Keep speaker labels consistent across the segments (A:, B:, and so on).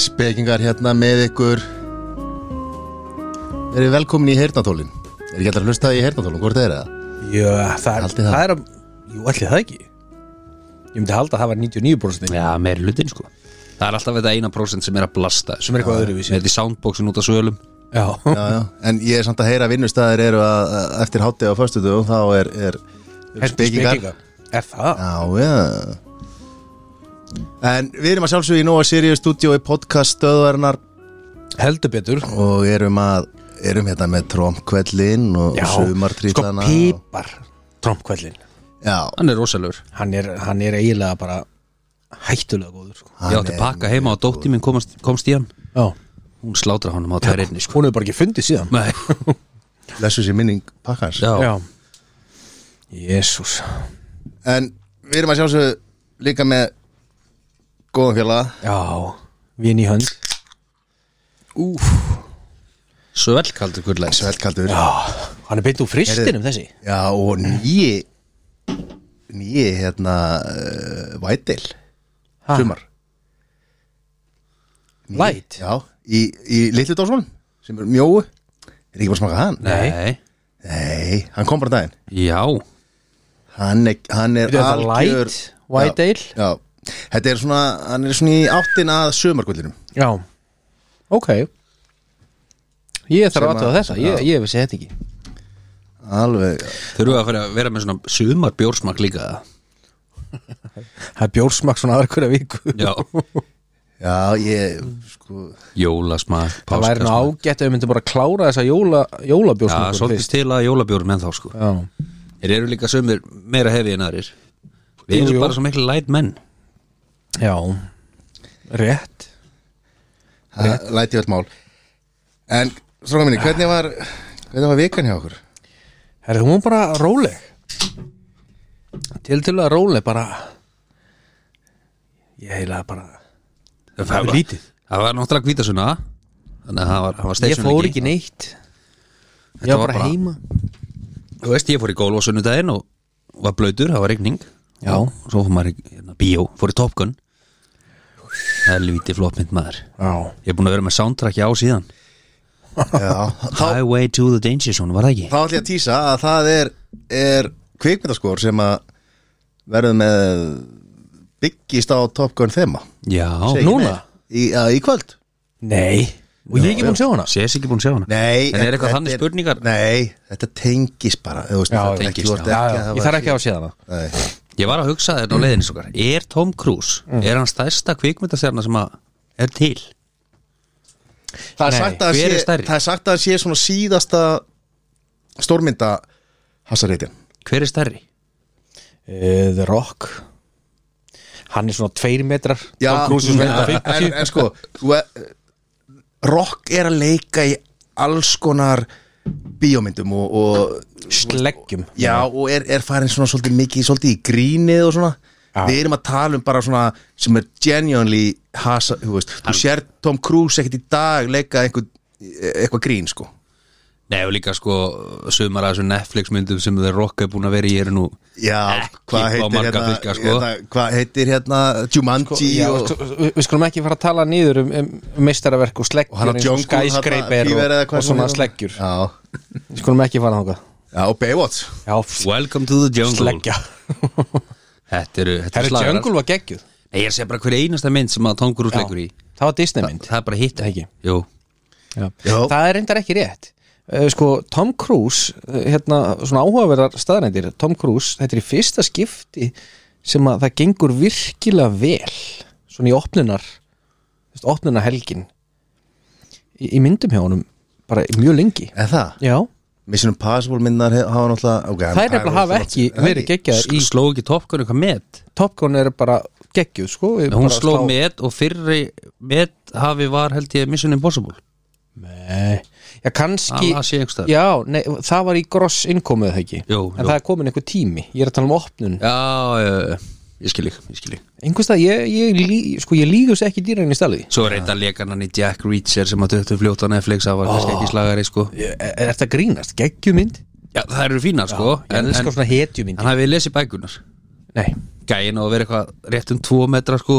A: Reykjavíkingar hérna með ykkur Verið velkomin í heyrnatólin Er ekki alltaf að hlusta í heyrnatólin, hvort er það?
B: Jö, eh, það,
A: Haldið það?
B: það er að, jú, allir það ekki Ég myndi halda að það var 99%
C: Já, meiri hlutin sko Það er alltaf þetta eina prósent sem er að blasta
B: Sem er eitthvað öðruvísi.
C: Þetta í soundboxin út af svölum
B: Já,
A: Já, já, en ég er samt að heyra að vinnustæðir eru að, að eftir hátti á föstudu og þá er, er eru
B: Heldur spekingar. Er það?
A: Já, já En við erum að sjálfsögja í Nóa Sirius Studio í podcast stöðvarnar
B: Heldur betur
A: og erum að erum hérna með tromkvellin og
B: Já, sko
A: sumartrýtlana og...
B: pípar Trompkvællin
A: Já,
C: Hann er rosalur
B: hann er, hann er eiginlega bara hættulega góður sko.
C: Ég átti
A: er
C: pakka heima og dótti mín komast, komst í hann
B: Já,
C: Hún slátra honum á tæri einni sko
B: hún hefur bara ekki fundið síðan
C: Nei,
A: lessu sér minning pakkans
C: já, já.
B: Jésús
A: En við erum að sjálfsögja líka með góðan félaga
B: Já, vin í hönd Úf
C: Svellkaldur gullæs
A: Svelkaldur
B: Já, hann er beint úr fristinum þessi
A: Já, og nýi nýi hérna uh, Vætil
B: Ha?
A: sumar Nýi-
B: Light?
A: Já, í, í litlu dásmál sem er mjóu Er ekki bara að smaka hann?
C: Nei,
A: Nei, hann kom bara daginn
C: já
A: Hann er, hann er
B: Veitu, þetta er light,
A: já,
B: white ale?
A: Já, þetta er svona hann er svona í áttin að sumargullinum
B: Já, ok Ég þarf
A: Sem
B: að aðtöða
A: að-
B: þetta, ég, ég vissi þetta ekki
A: Alveg
C: Þurfum við að fara að vera með svona sumar bjórsmak líka
B: Það er bjórsmak svona aðra hverja viku
C: Já,
A: Já, ég sko
C: jólasmak,
B: Það væri nú
C: páskasmak
B: ágætt ef við myndum bara að klára þessa jóla,
C: Já,
B: jólabjórsmak
C: svolítið til að jólabjórum en þá sko
B: Já,
C: Þeir eru líka sumir meira hefi en aðrir Við
B: Jú,
C: erum
B: jú.
C: bara svo miklu light menn
B: já Rétt
A: Það læti öll mál En, stróka minni, hvernig var hvernig var vikan hjá okkur?
B: Herðu, hún var bara róleg Til til að róleg bara Ég heila bara
C: Það
B: var lítið.
C: Það var náttúrulega hvítasuna Þannig að það var, það var
B: Ég
C: station
B: fór ekki neitt Ég
C: var
B: var bara
C: bara-
B: heima
C: Þú veist, ég fór í golf á sunnudaginn og var blöytur, það var regning
B: Já.
C: Og Svo fór maður í hérna, bíó, fór í Top Gun Helvíti floppmynd maður
B: Já
C: Ég er búin að vera með soundtracki á síðan
A: Já, þá,
C: Highway to the Danger Zone, var það ekki?
A: þá ætlum ég að tísa að það er, er kvikmyndaskor sem að verður með byggist á Top Gun þema
C: Já
A: Segi
B: núna?
A: meir. Í, já, í kvöld?
B: Nei Og ég er ekki búin að sjá hana
C: Sés ekki búin að sjá hana
A: Nei
C: En er
A: þetta
C: eitthvað þannig spurningar?
A: Nei, þetta tengis bara þú veist,
B: Já,
A: þetta
C: tengist,
A: ekki, þú ert
C: já.
A: ekki,
B: Ég þarf ekki að sé hana
A: ekki
C: Ég var að hugsa þetta á leiðinni svo Er Tom Cruise,
B: Mm.
C: er hann stærsta kvikmyndastjarna sem að er til?
A: Það er
B: Nei,
A: sagt að
C: hver
A: sé,
C: er stærri?
A: það er sagt að sé svona síðasta stórmynda hassareitin
C: Hver er stærri?
B: uh, The Rock Hann er svona tveir metrar
A: Já,
B: Tom Cruise er svona
A: en,
B: 150.
A: en, en sko þú er- Rock er að leika í alls konar bíómyndum og, og
B: Sleggjum
A: já, og er, er farin svona svolítið mikið, svolítið í grínið og svona
B: Já.
A: Við erum að tala um bara svona sem er genuinely hasa, þú veist, þú sér Tom Cruise ekkert í dag leika einhver, eitthvað grín, sko
C: Nei og líka sko sumar að þessu Netflix myndum sem þeir rocka er búin að vera í eru nú
A: Já,
C: Ekki
A: hvað
C: fá
A: heitir
C: marga
A: hérna,
C: fiska, sko.
A: hérna hvað heitir hérna Jumanji
B: Já,
A: og,
B: sko, við við skulum ekki fara að tala niður um, um meistaraverk og
A: og
B: sleggjur
A: hann að
B: eins og
A: Jungle hérna,
B: skyscraper
A: Fever eða
B: og,
A: hvað
B: og
A: sem
B: svona
A: heitir.
B: sleggjur
A: Já,
B: Við skulum ekki fara þangað
A: já, og Baywatch
B: Já, f-
C: Welcome to the jungle
B: sleggja
C: Þetta eru, þetta eru
B: Herru,
C: slagarar
B: Jungle var geggjuð
C: Nei, Ég er að segja bara hver einasta mynd sem að Tom Cruise
B: Já.
C: leikur í
B: Það var Disney mynd
C: Það er bara hitt
B: Ekki.
C: Jú
A: Já.
B: Það er reyndar ekki rétt Eh, Sko, Tom Cruise, eh, hérna, svona áhugaverðar staðnændir Tom Cruise, þetta er í fyrsta skipti sem að það gengur virkilega vel svona í opnunar opnunar helgin í, í myndum hjá honum bara í mjög lengi
A: Er það?
B: Já,
A: Mission Impossible myndar he- hafa náttúrulega okay,
B: Það er nefnilega hafa ekki sko- verið geggjaðar í
C: Sl- Sló ekki Top Gun eitthvað met
B: Top Gun er bara geggjuð sko við
C: Nei, Hún
B: bara
C: sló
B: slá-
C: met og fyrri met hafi var held ég Mission Impossible
B: Nei. Já kannski
C: Hann las ég einhvers staðar.
B: Já, nei, það var í gross innkomuð það ekki
C: Jú,
B: En
C: jú.
B: það er komin einhver tími Ég er að tala um opnun
C: Já, já, já, ég skil ekki, ég skil ekki
B: Einhvers stað, ég, ég, lí, sko, ég lígus ekki dýrinn í stali
C: Svo er reynda leikanan í Jack Reacher sem að 24 Netflix það var kannski ekki slagari sko
B: Er, e, er þetta grínast? Geggjumynd?
C: Já, það eru fínar sko
B: Ég
C: en,
B: elskar
C: en,
B: svona hetjumynd
C: en hafið lesið bækunar
B: Nei,
C: gæin á að vera eitthvað rétt um 2 metra sko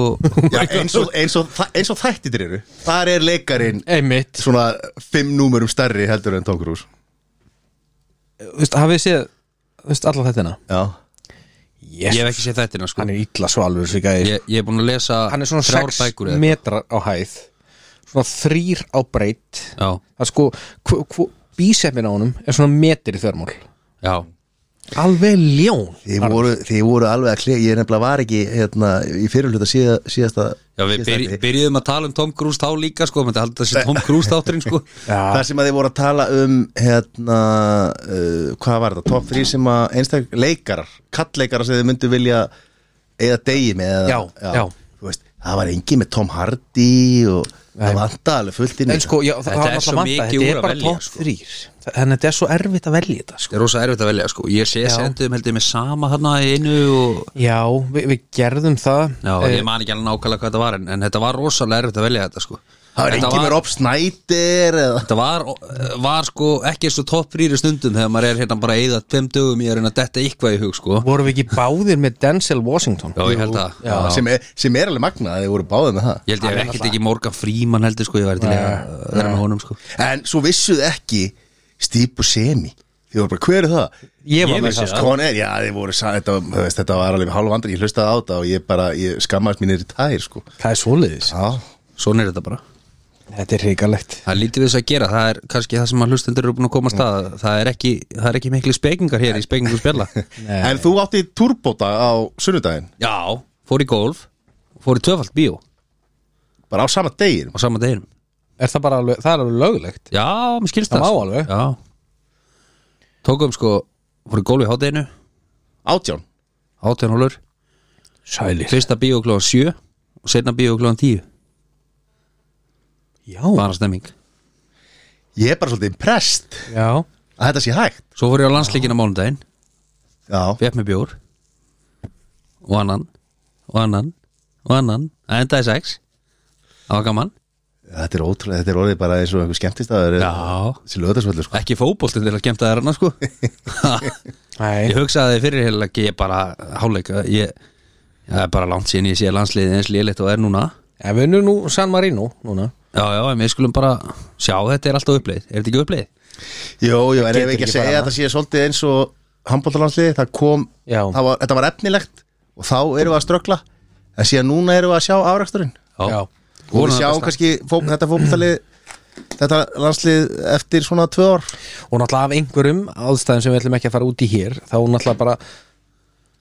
A: Já, eins, og, eins, og, þa- eins og þættir eru Þar er leikarinn
B: einmitt
A: svona fimm númurum stærri heldur en Tom Cruise
B: Þú veist, hafið þið séð, þú veist, alla þetta
A: Já,
B: yes.
C: Ég hef ekki séð þetta sko
B: Hann er illa svo alveg þessi gæði
C: ég, ég er búin að lesa
B: Hann er svona
C: þrjár
B: 6
C: bækur eða eitthvað.
B: metrar á hæð Svona þrýr á breytt
C: Já,
B: Það er sko, bísefin á honum er svona metri þörmál
C: já,
B: Alveg ljón
A: þið voru, þið voru alveg að klið Ég nefnilega var ekki hérna, í fyrirluta síða, síðasta
C: já við
A: síðasta
C: byrj,
A: þætti.
C: byrjuðum að tala um Tom Cruise þá líka sko Menni haldið að sé Tom Cruise þátturinn sko
A: Þar sem að þið voru að tala um hérna, uh, hvað var þetta, top 3 sem að einstak leikarar, kallleikarar sem þið myndu vilja eða degi með eða,
B: Já, já.
A: Þú Veist, það var engin með Tom Hardy og það vanta alveg fullt inn í
B: En sko, já, það
C: Þetta
B: var
C: er svo
B: alltaf vanta
C: mikið
B: Þetta
C: úr
B: er
C: að
B: bara
C: velja,
B: top
C: sko.
B: 3 Þannig að þetta er svo erfitt að velja þetta sko.
C: Það er rosa erfitt að velja sko Ég sé
B: Já.
C: sendum heldur með sama hana í einu og
B: Já, við, við gerðum það
C: Já,
B: Eh,
C: ég man ekki alveg nákvæmlega hvað þetta var en, en þetta var rosalega erfitt að velja þetta sko
A: það var
C: Þetta
A: engin með Rob Snyder eða,
C: Þetta var, var sko ekki eins og topp rýri stundum þegar maður er hérna bara að eyða tveim dögum í að reyna að detta eitthvað í hug sko
B: Vorum við ekki báðir með Denzel Washington
C: Já, ég held að já.
A: sem, er, sem er alveg magnað að þið voru báðið með það
C: Ég held ég hef ekkert ekki Morgan Freeman heldur sko ég væri til í að vera með honum sko
A: en svo vissuð ekki Steve Buscemi þið voru bara, hver er það?
B: Ég var
C: Ég
B: með
C: vissi
B: það
C: það.
A: Con Air, já, þið voru sa- þetta, þú veist, þetta var alveg hálf andri, ég hlustaði á þetta og ég bara, ég skammaðist mínir í tær sko.
B: Það er svoleiðis
A: Já,
C: Svona er þetta bara
B: Þetta er hrikalegt
C: Það er lítið við þess að gera, það er kannski það sem að hlustendur eru búin að komast að það er ekki, það er ekki miklu spekingar hér í spekingu spjalla
A: En þú átti túrbóta á sunnudaginn
C: Já, fór í golf, fór í tvöfalt bíó á
A: bara á sama degin
C: sama deginum
B: Er það bara alveg, það er alveg löglegt
C: Já, mér skilst
B: Það
C: það
B: má
C: sko.
B: alveg.
C: Já Tókum sko, fór í golf í hátæðinu
A: átján
C: hátæðin hólur,
B: Sælir
C: fyrsta bíó klóðan 7 og setna bíó klóðan 10
B: Já,
C: bara stemming
A: ég er bara svolítið impressed
B: já
A: að þetta sé hægt
C: Svo fór ég á landsleikina mánudaginn,
A: já,
C: fekk með bjór og annan og annan og annan að endaði sex það var gaman
A: þetta er ótrúlega, þetta er orðið bara eins og einhver skemmtistæður
C: Já.
A: sem lögðarsvöldur sko
C: ekki fótboltinn til að kemta þér annars sko
B: Nei,
C: ég hugsaði fyrir heila ekki ég bara háleika ég, það er bara langt síðan ég sé landsliðið eins lélitt og er núna
B: en við erum nú San Marino núna
C: já já en við skulum bara sjá þetta er alltaf uppleið er þetta ekki uppleið?
A: jú, jú, en
B: Getur
A: ef við ekki
B: ekki
A: að segja
B: bara
A: að það sé svolítið eins og handbóltalandsliði, það kom
B: Já.
A: það var, þetta var efnilegt og þá erum við að ströggla en síðan núna erum við að sjá afræksturinn
B: Já.
A: og við sjáum kannski fó, þetta fókbaltalið þetta landslið eftir svona tvö ár
B: Og náttúrulega af einhverjum aðstæðum sem við ætlum ekki að fara út í hér Þá náttúrulega bara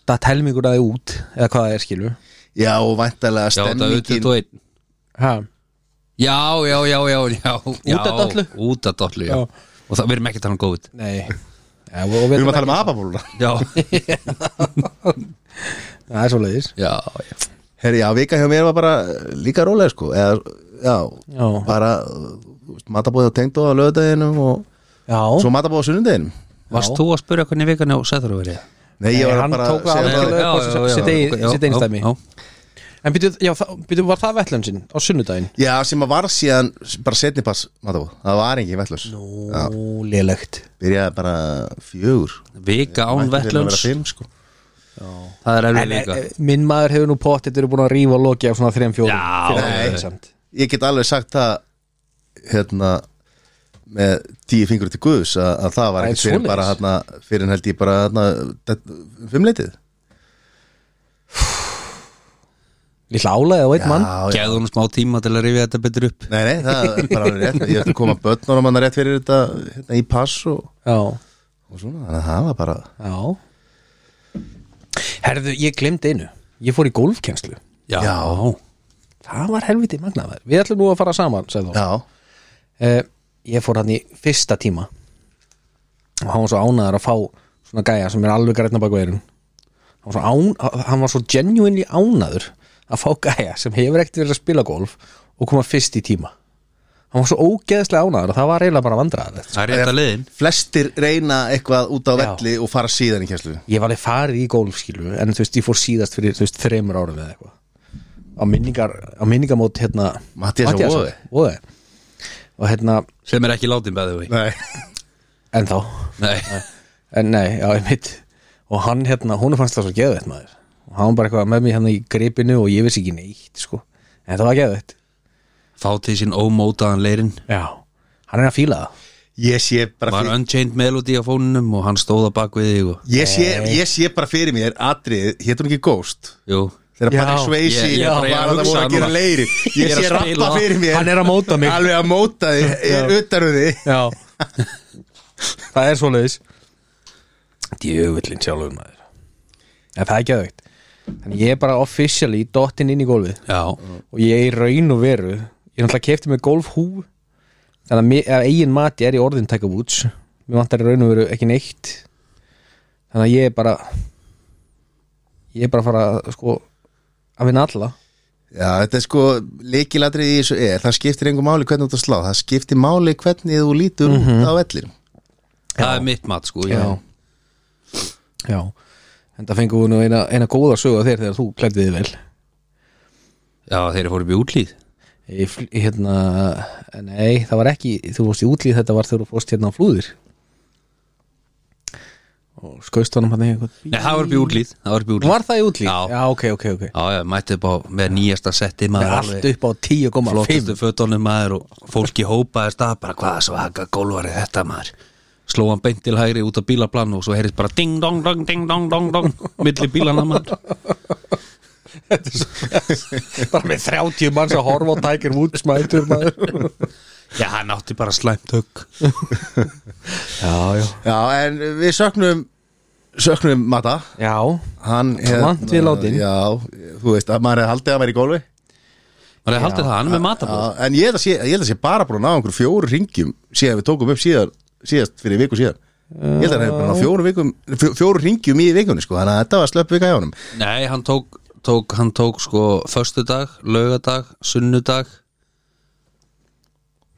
B: Það telmingur að þið út Eða hvað það er skilu
A: já, og væntalega
C: já þetta er
A: stemmingin
C: 21
B: ha.
C: Já, já, já, já, já
B: Út að dollu?
C: Út að dollu, já,
B: Já.
C: Og það verðum ekki að tala um góðið
B: Nei ja, og, og
A: við
B: við
A: erum að tala um ababóluna
C: Já,
B: Það er svoleiðis
C: já, já
A: Herri, já, vika hjá mér var bara eh, líka rólega sko eða, já,
B: Já.
A: bara matabóðið á tengdóð á lögudaginu og
B: Já,
A: svo matabóðið á sunnudaginu
C: Varst þú að spyrja hvernig vikan á Sæður að verið?
A: Nei, ég
B: Nei,
A: var
B: hann
A: bara
B: tók
A: að
B: það
A: segja-
B: algjörlega. sitt einn dæmi.
C: Já,
B: en býtum, já, þá- býtum var það vettlun sinn á sunnudaginn
A: Já, sem að var síðan bara setni pass matabóð, það var engin vellus Já,
B: Nú, lélegt
A: byrjaði bara fjögur
C: vika
A: Mætti til að
C: án
A: vera eh,
C: vettlunds
A: fimm, sko.
C: Það er
B: En
C: erfið
B: e,
C: vika
B: e, minn maður hefur nú pottit eru búin að rífa og loki af svona 3-4
C: eh, Já,
A: nei. Ég get alveg sagt það hérna með tíu fingur til guðs að, að það var
B: Það er
A: ekkert fyrir
B: svoleiðis.
A: bara hérna fyrir en held ég bara hérna fimmleitið
B: Lítla álæði á einn mann
C: Gæðu hún smá tíma til að rifja þetta betur upp
A: Nei, nei, það er bara alveg rétt Ég ætti að koma börnunum hann rétt fyrir þetta hérna, í pass og,
B: Já,
A: og svona Þannig að það var bara
B: já Herðu, ég glemdi einu Ég fór í golfkennslu
C: Já,
B: Það var helviti magnaðar Við ætlum nú að fara saman, sagði þá
A: Já,
B: uh, Ég fór hann í fyrsta tíma og hann var svo ánæður að fá svona gæja sem er alveg grætna baku eyrun hann var svo, án, hann var svo genuinely ánæður að fá gæja sem hefur ekkert verið að spila golf og koma fyrst í tíma hann var svo ógeðslega ánæður og það var eiginlega bara vandræðilegt
C: það er rétt að liðin
A: flestir reyna eitthvað út á
B: Já.
A: velli og fara síðan í kjæslu
B: ég var alveg farið í golf skilu en þú veist, ég fór síðast fyrir þú veist, þreymur árum eða eitthvað á, minningar, á minningamót hérna
A: Matthíasar
B: Matthíasar, Voði og hérna,
C: Sem er ekki látin beðu við
A: Nei
B: ennþá
C: Nei,
B: En nei, já, ég mitt Og hann hérna, hún fannst það svo geðveitt maður og hann bara eitthvað með mér hann í gripinu og ég vissi ekki neitt sko. en það var geðvægt
C: Fá til sín ómótaðan leirinn
B: já. hann er að fíla það
A: Ég sé bara
C: Var Unchained Melody á fónunum og hann stóða bak við þig og
A: Ég sé, ég sé bara fyrir mér atrið, hétt hún ekki Ghost
C: Jú
A: Þegar
B: Já,
A: Patrick Swayze
C: ég- ég er
A: var
C: bara
A: að
C: að
A: það
C: hugsa
A: voru að gera
C: núna.
A: leiri
C: Ég
A: Ég
C: er að
A: sé rappa
C: spila.
A: fyrir mér
B: hann er að móta mig
A: Alveg að móta þig, utanröði
B: já. það er svoleiðis djöfullin sjálfur maður en það er geðvægt þannig ég er bara officially dottinn inn í gólfið
C: Já,
B: og ég er í raun og veru ég er náttúrulega kefti með golfhú þannig að, mi- að eigin mati er í orðin taka búts mér vantar í raun og veru ekki neitt þannig að ég er bara ég er bara að fara að, sko, að vinna alla
A: Já, þetta er sko, leikilatrið í þessu er Það skiptir engu máli hvernig þú ert að slá Það skiptir máli hvernig þú lítur út á vellir
C: það er mitt mat sko já.
B: já en það fengum við nú eina, eina góða sögu af þér þegar þú klæddi þig vel
C: já, þeir eru fórum í útlíð
B: ég, fl- ég, hérna, nei, það var ekki þú fórst í útlíð, þetta var þegar þú fórst hérna á flúðir og skauðst honum hann eitthvað
C: Nei, það var upp í útlíð Það var upp í útlíð
B: Var það í útlíð?
C: Já.
B: ok, ok, ok
C: Já, já, mætti upp á með nýjasta setti maður
B: Allt upp á 10,5
C: Flottastu fötunum maður og fólki hópaðist að bara hvaða svaka gólfarið þetta maður Sló hann beint til hægri út af bílaplan og svo heyrðist bara ding dong dong ding dong dong dong milli bílana maður
B: Bara með 30 manns að horfa á Tiger Woods mætur maður
C: Já, hann átti bara slæmt högg
B: Já, já
A: Já, en við söknum Söknum Mata
B: Já,
A: Hann hérna-
B: Vant við látin.
A: Já, þú veist, að maður er haldið að maður í gólfi
C: Maður hefði haldið það, hann er með
A: Já,
C: matabóð
A: en ég held að sé, ég held að sé bara búin að ná einhver fjóru ringjum síðan við tókum upp síðan, síðast fyrir viku síðan ég held að hann hefur bara ná fjóru, vikum, fjó- fjóru ringjum í vikunni sko, þannig að þetta var slöpp vika hjá honum
C: Nei, hann tók, tók, hann tók sko föstudag, laugadag, sunnudag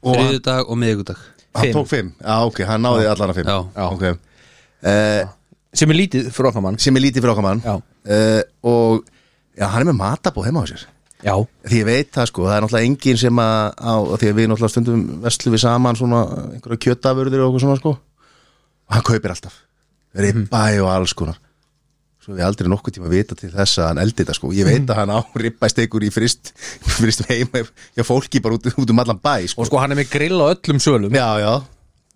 A: Og hann-
C: þriðudag og miðvikudag
A: hann
B: Fimm.
A: tók fimm, já ok, hann náði allan að fimm
C: Já.
A: okay. uh,
B: sem er lítið fyrir okkar mann
A: sem er lítið fyrir okkar mann
B: Já.
A: uh, og já, hann er með matabóð heima á sér
B: Já,
A: því ég veit það sko, það er náttúrulega engin sem að, á, að því að við náttúrulega stundum vestlum við saman svona einhverja kjötafurðir og okkur svona sko og hann kaupir alltaf ribba
B: Mhm.
A: og alls konar svo við aldrei nokkuð tíma vita til þess að hann eldi þetta sko ég
B: Mhm.
A: veit að hann á ribba stekur í frist frist heima hjá fólki bara út, út um allan bæ sko.
B: og sko hann er með grill á öllum sölum
A: já, já,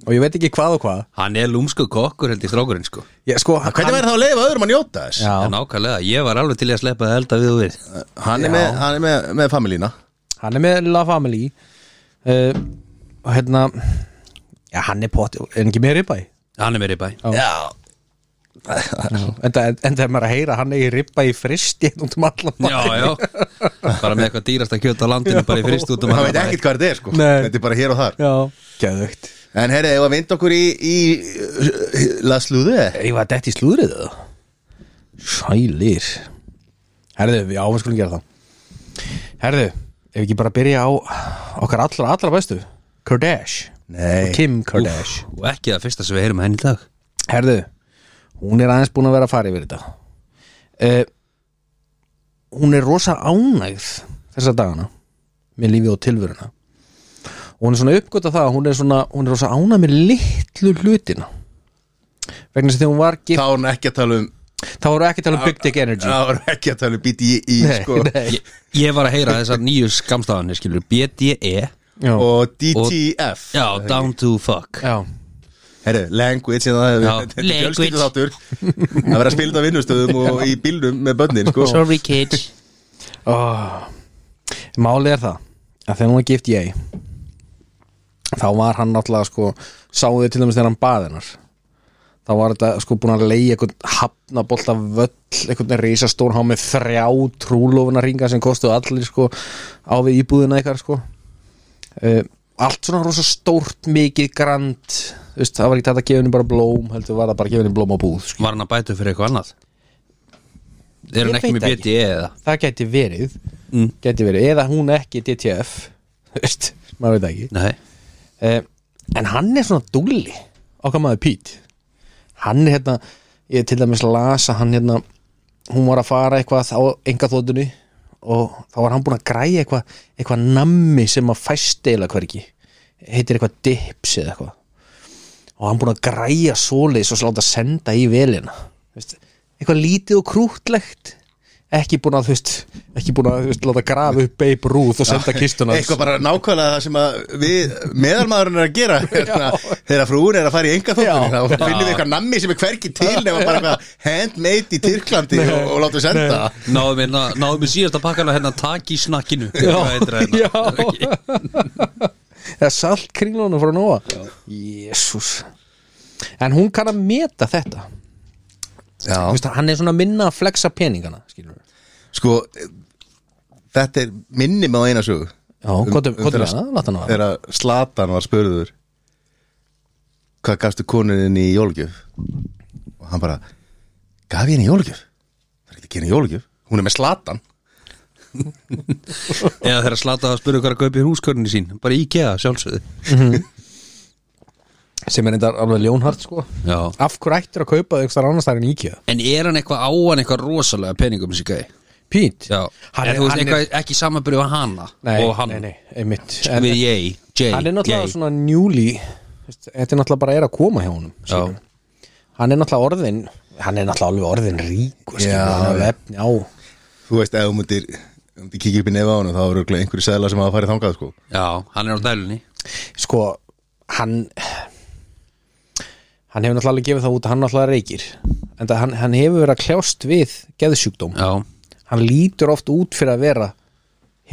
B: Og ég veit ekki hvað og hvað
C: Hann er lúmsku kokkur held í strákurinn sko
B: ég, sko,
A: hvernig verður það að leifa öðrum að njóta þess
B: Já,
C: En ákvæðlega, ég var alveg til í að sleppa það elda við og við
A: hann er, með, hann er með, með familína
B: hann er með La Family uh, Og hérna Já, hann er pott, en ekki með ribæ
C: Hann er með ribæ
B: Já. Enda, enda er maður að heyra að hann eigi ribba í fristi út um allan
C: Já, já, bara með eitthvað dýrasta kjöt á landinu bara í frist út um
A: hann
C: hann
A: veit ekkert hvað þetta er sko
B: Nei.
A: þetta er bara hér og þar
B: Já, geðvögt
A: en herri, ef að vinda okkur í, í laslúðu
B: Ég var dætt í slúðrið það Sælir Herðu, já, við skulum gera það Herðu, ef ekki bara byrja á okkar allra, allra bestu Kardash
A: Nei.
B: og Kim
C: Úff,
B: Kardash
C: Og ekki það fyrsta sem við heyrum henni í dag
B: Herðu, hún er aðeins búin að vera að fara yfir þetta uh, Hún er rosa ánægð þessa dagana með lífið og tilvöruna og hún er svona uppgöta það að hún er svona, hún er rosa ánægð með litlu hlutina vegna þess að þegar hún var gift
A: þá er hann ekki að tala um
B: þá voru ekki að tala um Big Dick Energy
A: Það voru ekki að tala um BDI í, sko,
C: ég, ég var að heyra þessar nýju skamstafanir skilur BDE
B: já,
A: og DTF
C: E. Já, down to fuck
B: já,
A: Herru, language hérna, sem það
C: Já.
A: hefur
C: Language.
A: fjölskyldu þáttur að vera að spila þetta á vinnustöðum og í bílnum með börnin sko.
C: Sorry kids
B: Oh. málið er það að þegar hún var gift ég þá var hann náttúrulega sko sáðu til dæmis þegar hann bað hennar þá var þetta sko búin að leiða eitthvað hafnabolt af völl eitthvað reisastór há með þrjá trúlofuna ringa sem kostuðu allir sko á við íbúðina eitthvað sko uh, allt svona rosa stórt mikið grand þú veist, það var ekki þetta að gefa henni bara blóm heldur var það bara að gefa henni blóm á búð sko.
C: Var hann að bæta upp fyrir eitthvað annað? Er hann
B: Ég
C: ekki
B: veit
C: með
B: ekki.
C: BDE eða?
B: það gæti verið
C: Mm.
B: gæti verið, eða hún ekki DTF þú veist, maður veit það ekki
C: Nei
B: eh, en hann er svona dúlli okkar maður Pete hann er hérna, ég til dæmis las að hann hérna, hún var að fara eitthvað á enga þóttunni og þá var hann búin að græja eitthvað eitthvað nammi sem að fæst eila hvergi heitir eitthvað dips eða eitthvað og hann búin að græja svoleiðis og sláta að senda í velina Veist, eitthvað lítið og krútlegt ekki búin að þú veist ekki búin að þú veist láta grafa upp Babe Ruth og senda kistuna
A: eitthvað bara nákvæmlega það sem að við meðalmaðurinn er að gera hérna, þegar frúin er að fara í enga
B: Já.
A: þá finnum við eitthvað nammi sem er hvergi til nema bara eitthvað handmade í Tyrklandi og, og látum senda
B: Nei.
C: Náðum við, ná- náðum við síðasta pakkana hérna Taki í snakkinu Hvað heitir það hérna?
B: já eða salt kringlunum frá Nóa jésús en hún kann að meta þetta Þú
A: Já,
B: veist, hann er svona minna að flexa peningana skilur við
A: sko þetta er minni með eina sögu
B: Já, hvað er
A: um þeirra-
B: það? Láta hann á það
A: þegar Slatan var spurður hvað gafstu konunin í jólgjöf og hann bara gaf ég henni í jólgjöf það er ekki að gera í jólgjöf hún er með Slatan
C: Eða þegar Slata að spurði hvað er að kaupa í húskörninni sín Bara IKEA sjálfsögðu
B: sem er þetta alveg ljónhart sko
C: Já
B: Af hverju ættir að kaupa þau einhverjar annars þar en íkja?
C: En er hann eitthvað á hann eitthvað rosalega peningum sér gæði?
B: Pít?
C: Já
B: Hann
C: En
B: er,
C: þú veist
B: hann er,
C: eitthvað ekki samanbyrðu að hana
B: nei,
C: Og hann
B: nei, nei, einmitt en,
C: Við ég, J
B: Hann er náttúrulega
C: J.
B: svona njúli Þetta er náttúrulega bara er að koma hjá honum skilur við. Hann er náttúrulega orðin Hann er náttúrulega alveg orðin rík og skilur
A: Já,
B: við, hann er alveg efni á
A: þú veist, ef þú myndir, ef þú myndir kíkja upp í nefa á hann þá eru örugglega einhverju sæðla sem hafa farið þangað sko.
C: Já, hann er á dælunni
B: Sko, hann Hann hefur náttúrulega alveg gefið það út að Hann náttúrulega reykir En það, hann, hann hefur verið að kljást við geðsjúkdóm
C: Já,
B: hann lítur oft út fyrir að vera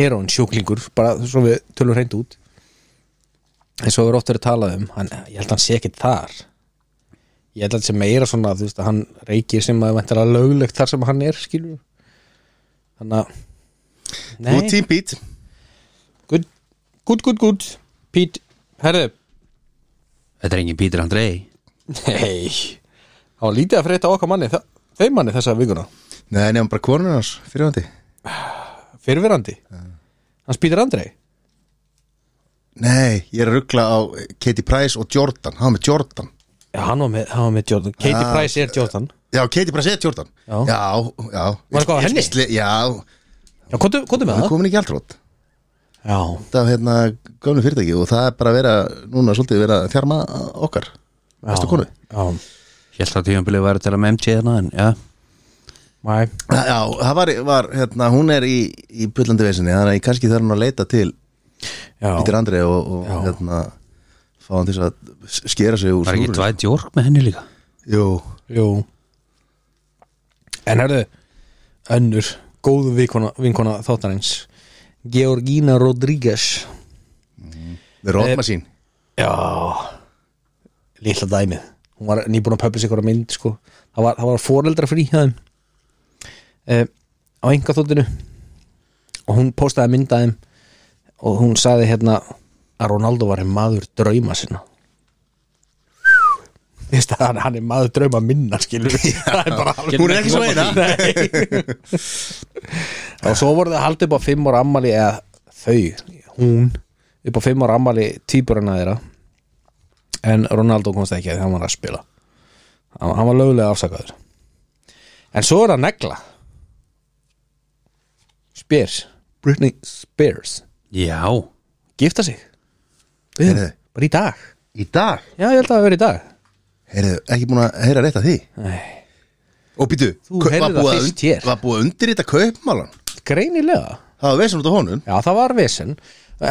B: heroin sjúklingur bara svo við tölum hreint út eins og við erum oft verið að tala um hann, ég held að hann sé ekkert þar ég held að hann sé meira svona þú veist að hann reykir sem að væntar að löglegt þar sem hann er skilur þannig að
A: þú
B: nei,
A: tím bít
B: gud, gud, gud, gud Pít, herðu
C: þetta er engin Pítur Andrei
B: nei, það var lítið að frétta á okkar manni þa- þeim manni þessa vikuna
A: nei, nefnum bara konun hans, fyrirvandi
B: fyrirverandi, hann spýtir Andrei
A: nei, ég er að ruggla á Katie Price og Jordan, hann var með Jordan
B: já, hann var með, hann var með Jordan Katie
A: Ah,
B: Price er Jordan
A: já, Katie Price er Jordan
B: Já.
A: já, já.
B: Var eitthvað á
A: Ég- ég
B: henni?
A: sli- já,
B: Já, komdu, komdu með
A: það er
B: það
A: komin í gjaldrótt
B: Já,
A: þetta af hérna gömlu fyrirtæki og það er bara að vera núna svolítið vera að þjarma okkar bestu konu
B: já,
C: Ég held að tíðanbilið væri til að með MJ þarna en já
B: mæ
A: já, það var, var hérna, hún er í, í pullandi vesinni, þannig að ég kannski þarf hún að leita til
B: Já,
A: Pítur Andrei og, og
B: Já.
A: hérna fá hann til þess að s- skera sig úr
C: Var ekki
A: snúrunni.
C: Dwight York með henni líka?
A: Jú,
B: jú En herðu, önnur góð vinkona, vinkona þáttarins Georgina Rodríguez
A: rótma sín
B: Já Lilla dæmið Hún var nýbúin að pöppi sig hverja mynd sko. það, var, það var foreldra frí hjá þeim uh, Á enga þóttinu Og hún postaði mynd að þeim Og hún sagði hérna Að Ronaldo var hinn maður drauma sinna Þú veist að hann, hann er maður drauma minna skilur við. Það er bara alveg-
A: Hún er ekki svo eina.
B: Nei. Og svo voru það haldið upp á fimm ára ammali eða þau, hún upp á fimm ára ammali týpurina þeirra en Ronaldo komst ekki að því hann var að spila hann, hann var lögulega afsakaður en svo er að negla Spears Britney Spears
C: Já,
B: gifta sig Við-
A: Heyrðu.
B: bara í dag
A: Í dag,
B: já ég held að það verið í dag
A: heyrðu, ekki búin að heyra rétt að því
B: Nei.
A: Og býtu,
B: Þú
A: kau-
B: heyrðir
A: var
B: það
A: búið að
B: fyrst
A: und-
B: hér.
A: var búið að undir þetta kaupmálan
B: greinilega
A: Það var vesen út á honum
B: Já, það var vesen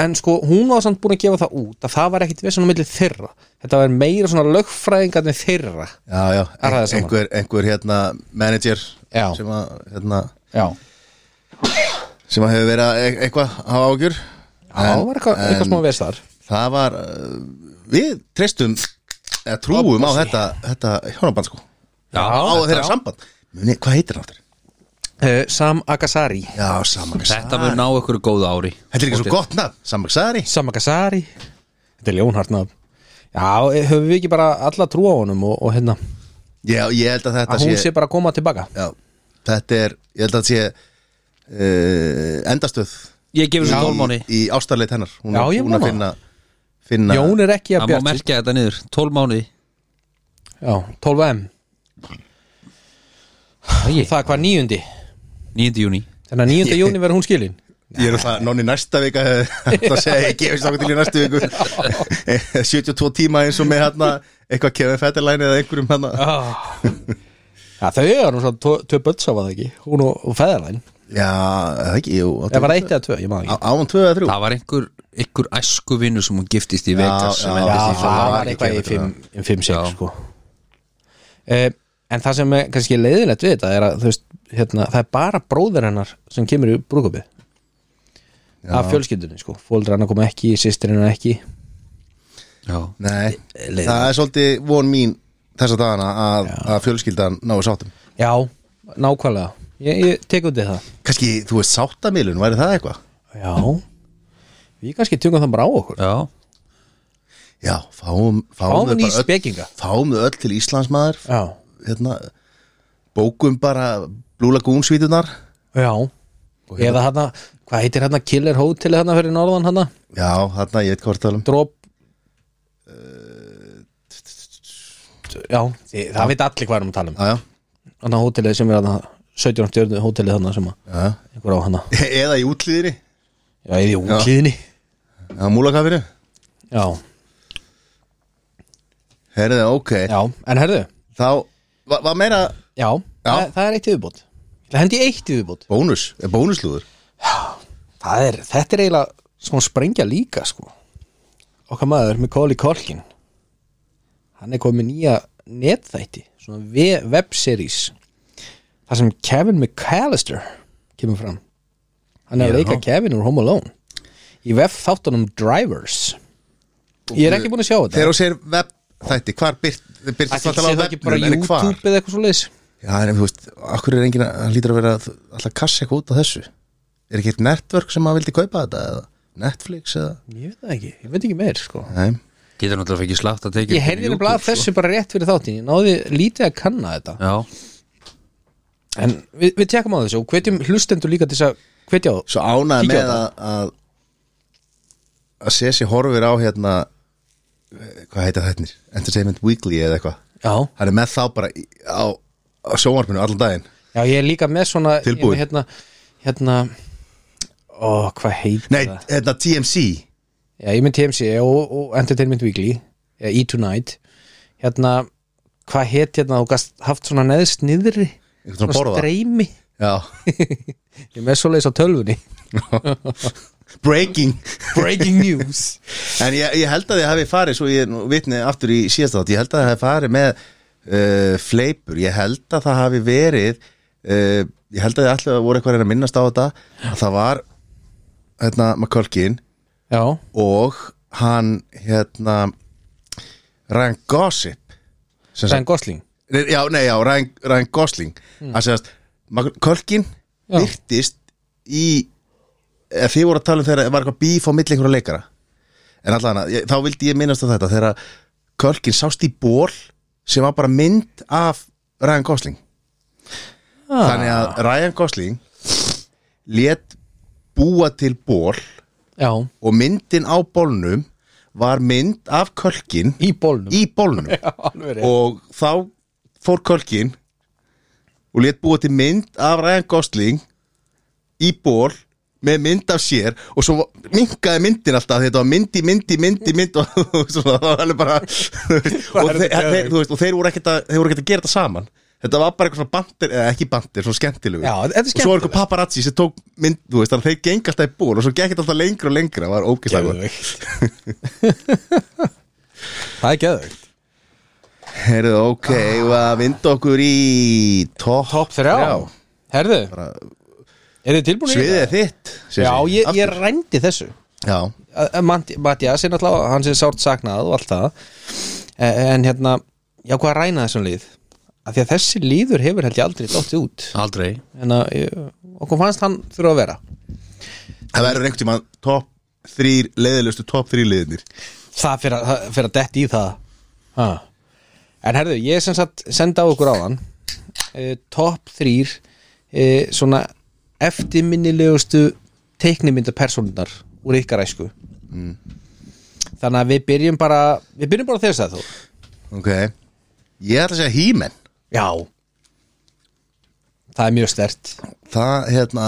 B: En sko, hún var samt búin að gefa það út að það var ekkit vesen á milli þeirra Þetta var meira svona lögfræðingarnir þeirra
A: Já, já,
B: Er það saman?
A: einhver, einhver hérna manager
B: Já.
A: sem að hérna,
B: Já
A: sem að hefur verið að e- eitthvað hafa ágjur
B: það var eitthvað, eitthvað smá vesen þar
A: það var uh, við treystum eða trúum á þetta, þetta hjónaband sko
C: já,
A: á þeirra samband Muni, hvað heitir hann aftur?
B: uh, Sam Agasari
A: Já, Samaksari
C: Þetta mun ná ykkur góð ári
A: Þetta er ekki svo gott nafn, Samaksari
B: Sam Agasari Þetta er ljónhartna Já, eh, höfum við ekki bara alla trú á honum og, og hérna
A: Já, ég held að þetta
B: að hún sé bara að koma tilbaka
A: Já, þetta er, ég held að þetta sé uh, endastöð
C: Ég gefur þessu tólmáni
A: í, í ástarleit hennar Hún
B: Já, ég
A: hún að
B: vona
A: finna, finna
B: Jón er ekki að
C: Það má
B: bjart
C: merkja þetta niður, tólmáni
B: Já, 12M Það er hvað nýjundi
C: 9. júni
B: Þannig að nýjunda júni verður hún skilin
A: Ég er alltaf nonni næsta vika Það segi ég gefist okkur til í næstu viku 72 tíma eins og með hérna Eitthvað kefið fættilæni eða einhverjum hérna
B: Ah. Já, þau eru nú svona tvö- tvö börn sá að það ekki Hún og, og feðarlæn
A: Já, eða ekki, jú áttu-
B: Það var eitt eða tvö, ég maður
A: Á- Á hún tvö eða þrjú
C: Það var einhver, einhver æskuvinu sem hún giftist í Vegas sem
A: já,
C: endist
A: já,
C: í
B: ekki Já, það
C: fangelsinu.
B: var eitthvað í
A: ekki
B: fimm- í 5-6
C: Já.
B: sko Eh, En það sem er kannski leiðinlegt við þetta er að þú veist, hérna, það er bara bróðir hennar sem kemur í brúkupið af fjölskyldunni sko, fóldra hennar kom ekki, sýstir hennar ekki
C: Já.
A: Nei,
B: leiðilegt.
A: það er svolítið von mín þessa dagana að, að fjölskyldan náu sáttum
B: Já, nákvæmlega Ég, ég tek undir það
A: Kanski, þú veist, sáttamilun, væri það eitthvað?
B: Já Við kannski tjungum það bara á okkur
C: já,
A: Já, fáum,
B: Fáum
A: þau
B: ný
A: bara öll-
B: spekinga.
A: Fáum þau öll til Íslands maður
B: Já,
A: hérna, Bókum bara Blue Lagoon svítunar
B: já Eða hérna, hvað heitir hérna Killer Hotel hérna fyrir norðan hérna
A: Já, þarna, ég veit hvort talum
B: Drop Já, þið, það veit allir hvað erum að tala um
A: Já, já,
B: Þannig að hótelið sem er að 17. stjörnu hótelið þannig sem að
A: já
B: einhver á hana
A: Eða í útlýðinni
B: Já, eða í útlíðinni
A: Já, múlakafinu
B: Já,
A: Herðu, ok
B: já, en herðu
A: Þá, var va meira
B: Já, Það, það er eitt yfirbútt Það hendi ég eitt yfirbútt
A: bónus, eh, bónuslúður
B: Það er, þetta er eiginlega smá sprengja líka sko Okkar maður með Kóli Kolkin Hann er komið nýja netþætti Svona ve- webseries Það sem Kevin McAllister kemur fram Hann er
A: Já.
B: að leika Kevin úr Home Alone Í web þáttunum Drivers Ég er ekki búin að sjá þetta
A: Þegar þú segir web þætti, hvar byrt, byrtist
B: Ætli sé um það ekki bara YouTube eða eitthvað svo leiðis
A: Já, en þú veist, akkur er enginn að hann lítur að vera að- alltaf að kassa eitthvað út á þessu Er ekki eitt network sem að vildi kaupa þetta eða Netflix eða
B: Ég veit það ekki, ég veit ekki meir sko
A: Nei,
C: getur náttúrulega fengið slátt að tekið
B: Ég heyrði nefnilega að þessu bara rétt fyrir þáttin Ég náði lítið að kanna þetta
C: sko. Já,
B: En við, við tekum á þessu og hvetjum hlustendur líka til þess að hvetja á
A: svo ánægð
B: Kíkja á
A: með að að, að Sessi horfir á hérna eh, hvað heita þættinir? Entertainment Weekly eða eitthvað
B: Já,
A: Hann er með þá bara í- á, á sjónvarpinu allan daginn
B: já ég er líka með svona ég er með
A: Tilbúin.
B: Hérna, hérna Ó, hvað heit
A: Nei, hérna TMC
B: Já, ég er með TMC og, og Entertainment Weekly Já, E-Tonight Hérna, hvað heit hérna þú gast haft svona neðst niðri
A: Eitthvað svona borða.
B: streymi
A: Já,
B: Ég er með svoleiðis á tölvunni
A: Breaking
B: Breaking news
A: En ég, ég held að ég hafi farið svo ég er nú vitni aftur í síðasta þátt ég held að ég hafi farið með uh, fleipur, ég held að það hafi verið uh, ég held að ég ætla að voru eitthvað að reyna að minnast á þetta að það var hérna McCulkin
B: Já,
A: og hann hérna Ryan Gossip sem sagt-
B: Sæn Gosling
A: Nei, Já, nei, já, Ryan, Ryan Gosling mm. að segast, Kölkin
B: Já.
A: virtist í eða þið voru að tala um þegar var eitthvað bíf á milli einhverja leikara en allan að, þá vildi ég minnast á þetta þegar Kölkin sást í ból sem var bara mynd af Ryan Gosling þannig að Ryan Gosling let búa til ból
B: Já,
A: og myndin á bólnum var mynd af Kölkin
B: í bólnum
A: í bólnum
B: Alveg rétt.
A: og þá fór Kölkin og let búa til mynd af Ryan Gosling í ból með mynd af sér og svo minkaði myndin alltaf því þetta var myndi, myndi, myndi, mynd og svona, það var alveg bara þú veist, og,
B: er
A: þeir,
B: þetta
A: þeir, þú veist, og þeir voru ekkert að, þeir voru ekkert að gera þetta saman þetta var bara eitthvað svona bandir, eða ekki bandir, svona skemmtilegu
B: Já, þetta
A: og svo var
B: er skemmtilegt.
A: eitthvað paparazzi sem tók mynd, þú veist, þannig að þeir geng alltaf í ból og svo gekk þetta alltaf lengra og lengra, það var ógislega gott.
B: Geðveikt Það er geðveikt
A: Heyrðu, ok, ah. að vinda okkur í topp
B: Topp þrjá Herðu, er þið tilbúin
A: Sviðið er þitt Sessi.
B: Já, ég, ég
A: Aftur.
B: rændi þessu
A: Já,
B: Mattias er náttúrulega, hann sem sárt saknað og allt það En- En hérna, já hvað ræna þessum lið Af því að þessi liður hefur held ég aldrei dóttið út
C: aldrei
B: En að ég- okkur fannst hann þurfa að vera
A: það verður einhvern tímann topp þrýr leiðilegustu topp þrýr leiðinir
B: það fyrir að, það fer að detti í það ha. en herðu, ég sem sagt senda á ykkur áðan uh, top 3 uh, svona eftirminnilegustu teiknimynda personunar úr ykkar æsku Mm. þannig að við byrjum bara við byrjum bara á þess að þú
A: Ok Ég ætla að segja hímen
B: já það er mjög stert
A: Það, hérna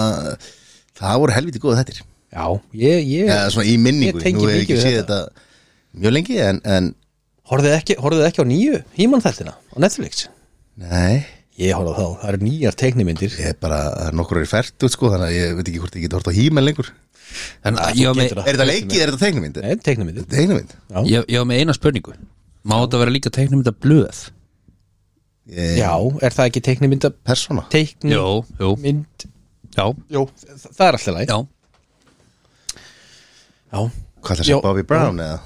A: Það voru helviti góða þettir
B: já, ég, ég
A: Eða svona í minningu
B: Ég tengi
A: Nú hef ég
B: mikið
A: ekki
B: við
A: séð þetta. mjög lengi en, en
B: horfðið ekki, horfðið ekki á nýju hímann þættina á Netflix
A: Nei
B: Ég horfði á þá, það eru nýjar teiknimyndir
A: Ég er bara, það er nokkur er fært út sko Þannig að ég veit ekki hvort ég get hort á hímen lengur
C: En ég var með,
B: getur það.
A: Er þetta leikið, er þetta teiknumynd?
B: Ah, Nei, teiknimyndir
A: Teiknumynd?
C: ég, ég var með eina spurningu Má þetta vera líka teiknumynda blöð?
A: Ég-
B: Já, er það ekki teiknimynda
A: Persóna?
B: Teiknimynd
C: Jó, jú,
A: Mm.
C: já,
B: Jó, þa- það er alltaf læg
C: já
B: Já,
A: Hvað það sé
B: Jó.
A: Bobby Brown eða?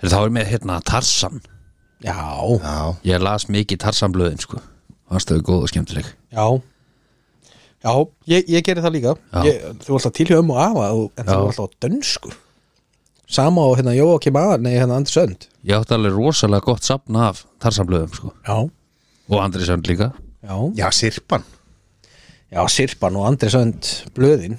C: Heyrðu, Þá er með hérna Tarsan
B: já,
A: Já,
C: Ég las mikið Tarsan blöðin sko Fannst þau góð og skemmtileg
B: já. Já, ég, ég gerir það líka
C: Já.
B: ég, Þú var alltaf til hjá um og afa þú- En þú
C: Já.
B: var alltaf á dönsku Sama á hérna Jóa kem aðar Nei, hérna Andri Sönd
C: Ég átti alveg rosalega gott safna af Tarsan blöðum sko
B: Já,
C: Og Andri Sönd líka
B: já,
A: já Sirpan
B: já Sirpan og Andri Sönd Blöðin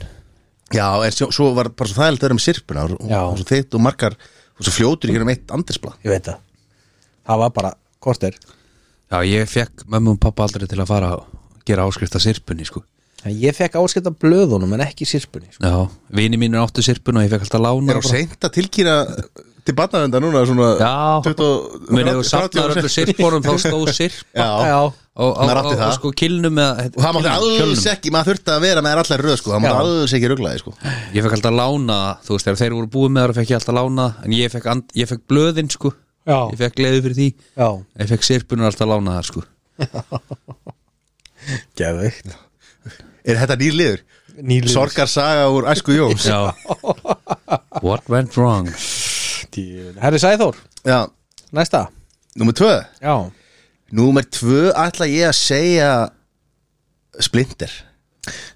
A: Já, en svo, svo var bara svo þægilegt að vera með sirpuna og,
B: Já.
A: og svo þitt og margar og svo fljótur hér um eitt andrisblad
B: Ég veit það Það var bara korter
C: Já, ég fekk mömmu og pappa aldrei til að fara að gera áskrifta sirpunni sko
B: Ég fekk áskipta blöðunum en ekki sirpunni sko.
C: Já, vini mínir áttu sirpun og ég fekk alltaf lána
A: Er á seint að tilkýra til barnavenda núna svona
C: Já.
A: 20
C: Menni þú
A: 30
C: safnaður öllu sirpunum þá stóð sirp
A: Já,
B: Já.
C: og, og,
A: Maður
C: og,
A: átti
C: og
A: það.
C: sko kilnum eða,
A: og það mátti alls ekki maður þurfti að vera með þær allar röð sko, það
B: Já.
A: mátti alls ekki ruglaði sko
C: Ég fekk alltaf lána, þú veist, þegar þeir voru búið með það fekk ég alltaf lána, en ég fekk, and, ég fekk blöðin sko,
B: Já.
C: ég fekk gleði fyrir því
B: Já,
C: ég fekk sirpunum alltaf lána það sko
B: geðveikt
A: Er þetta nýr liður?
B: Nýliður.
A: Sorgar saga úr æsku Jóns
C: Já What went wrong?
B: Herri Sæþór,
A: Já,
B: næsta
A: númer tvö
B: Já,
A: Númer tvö ætla ég að segja Splinter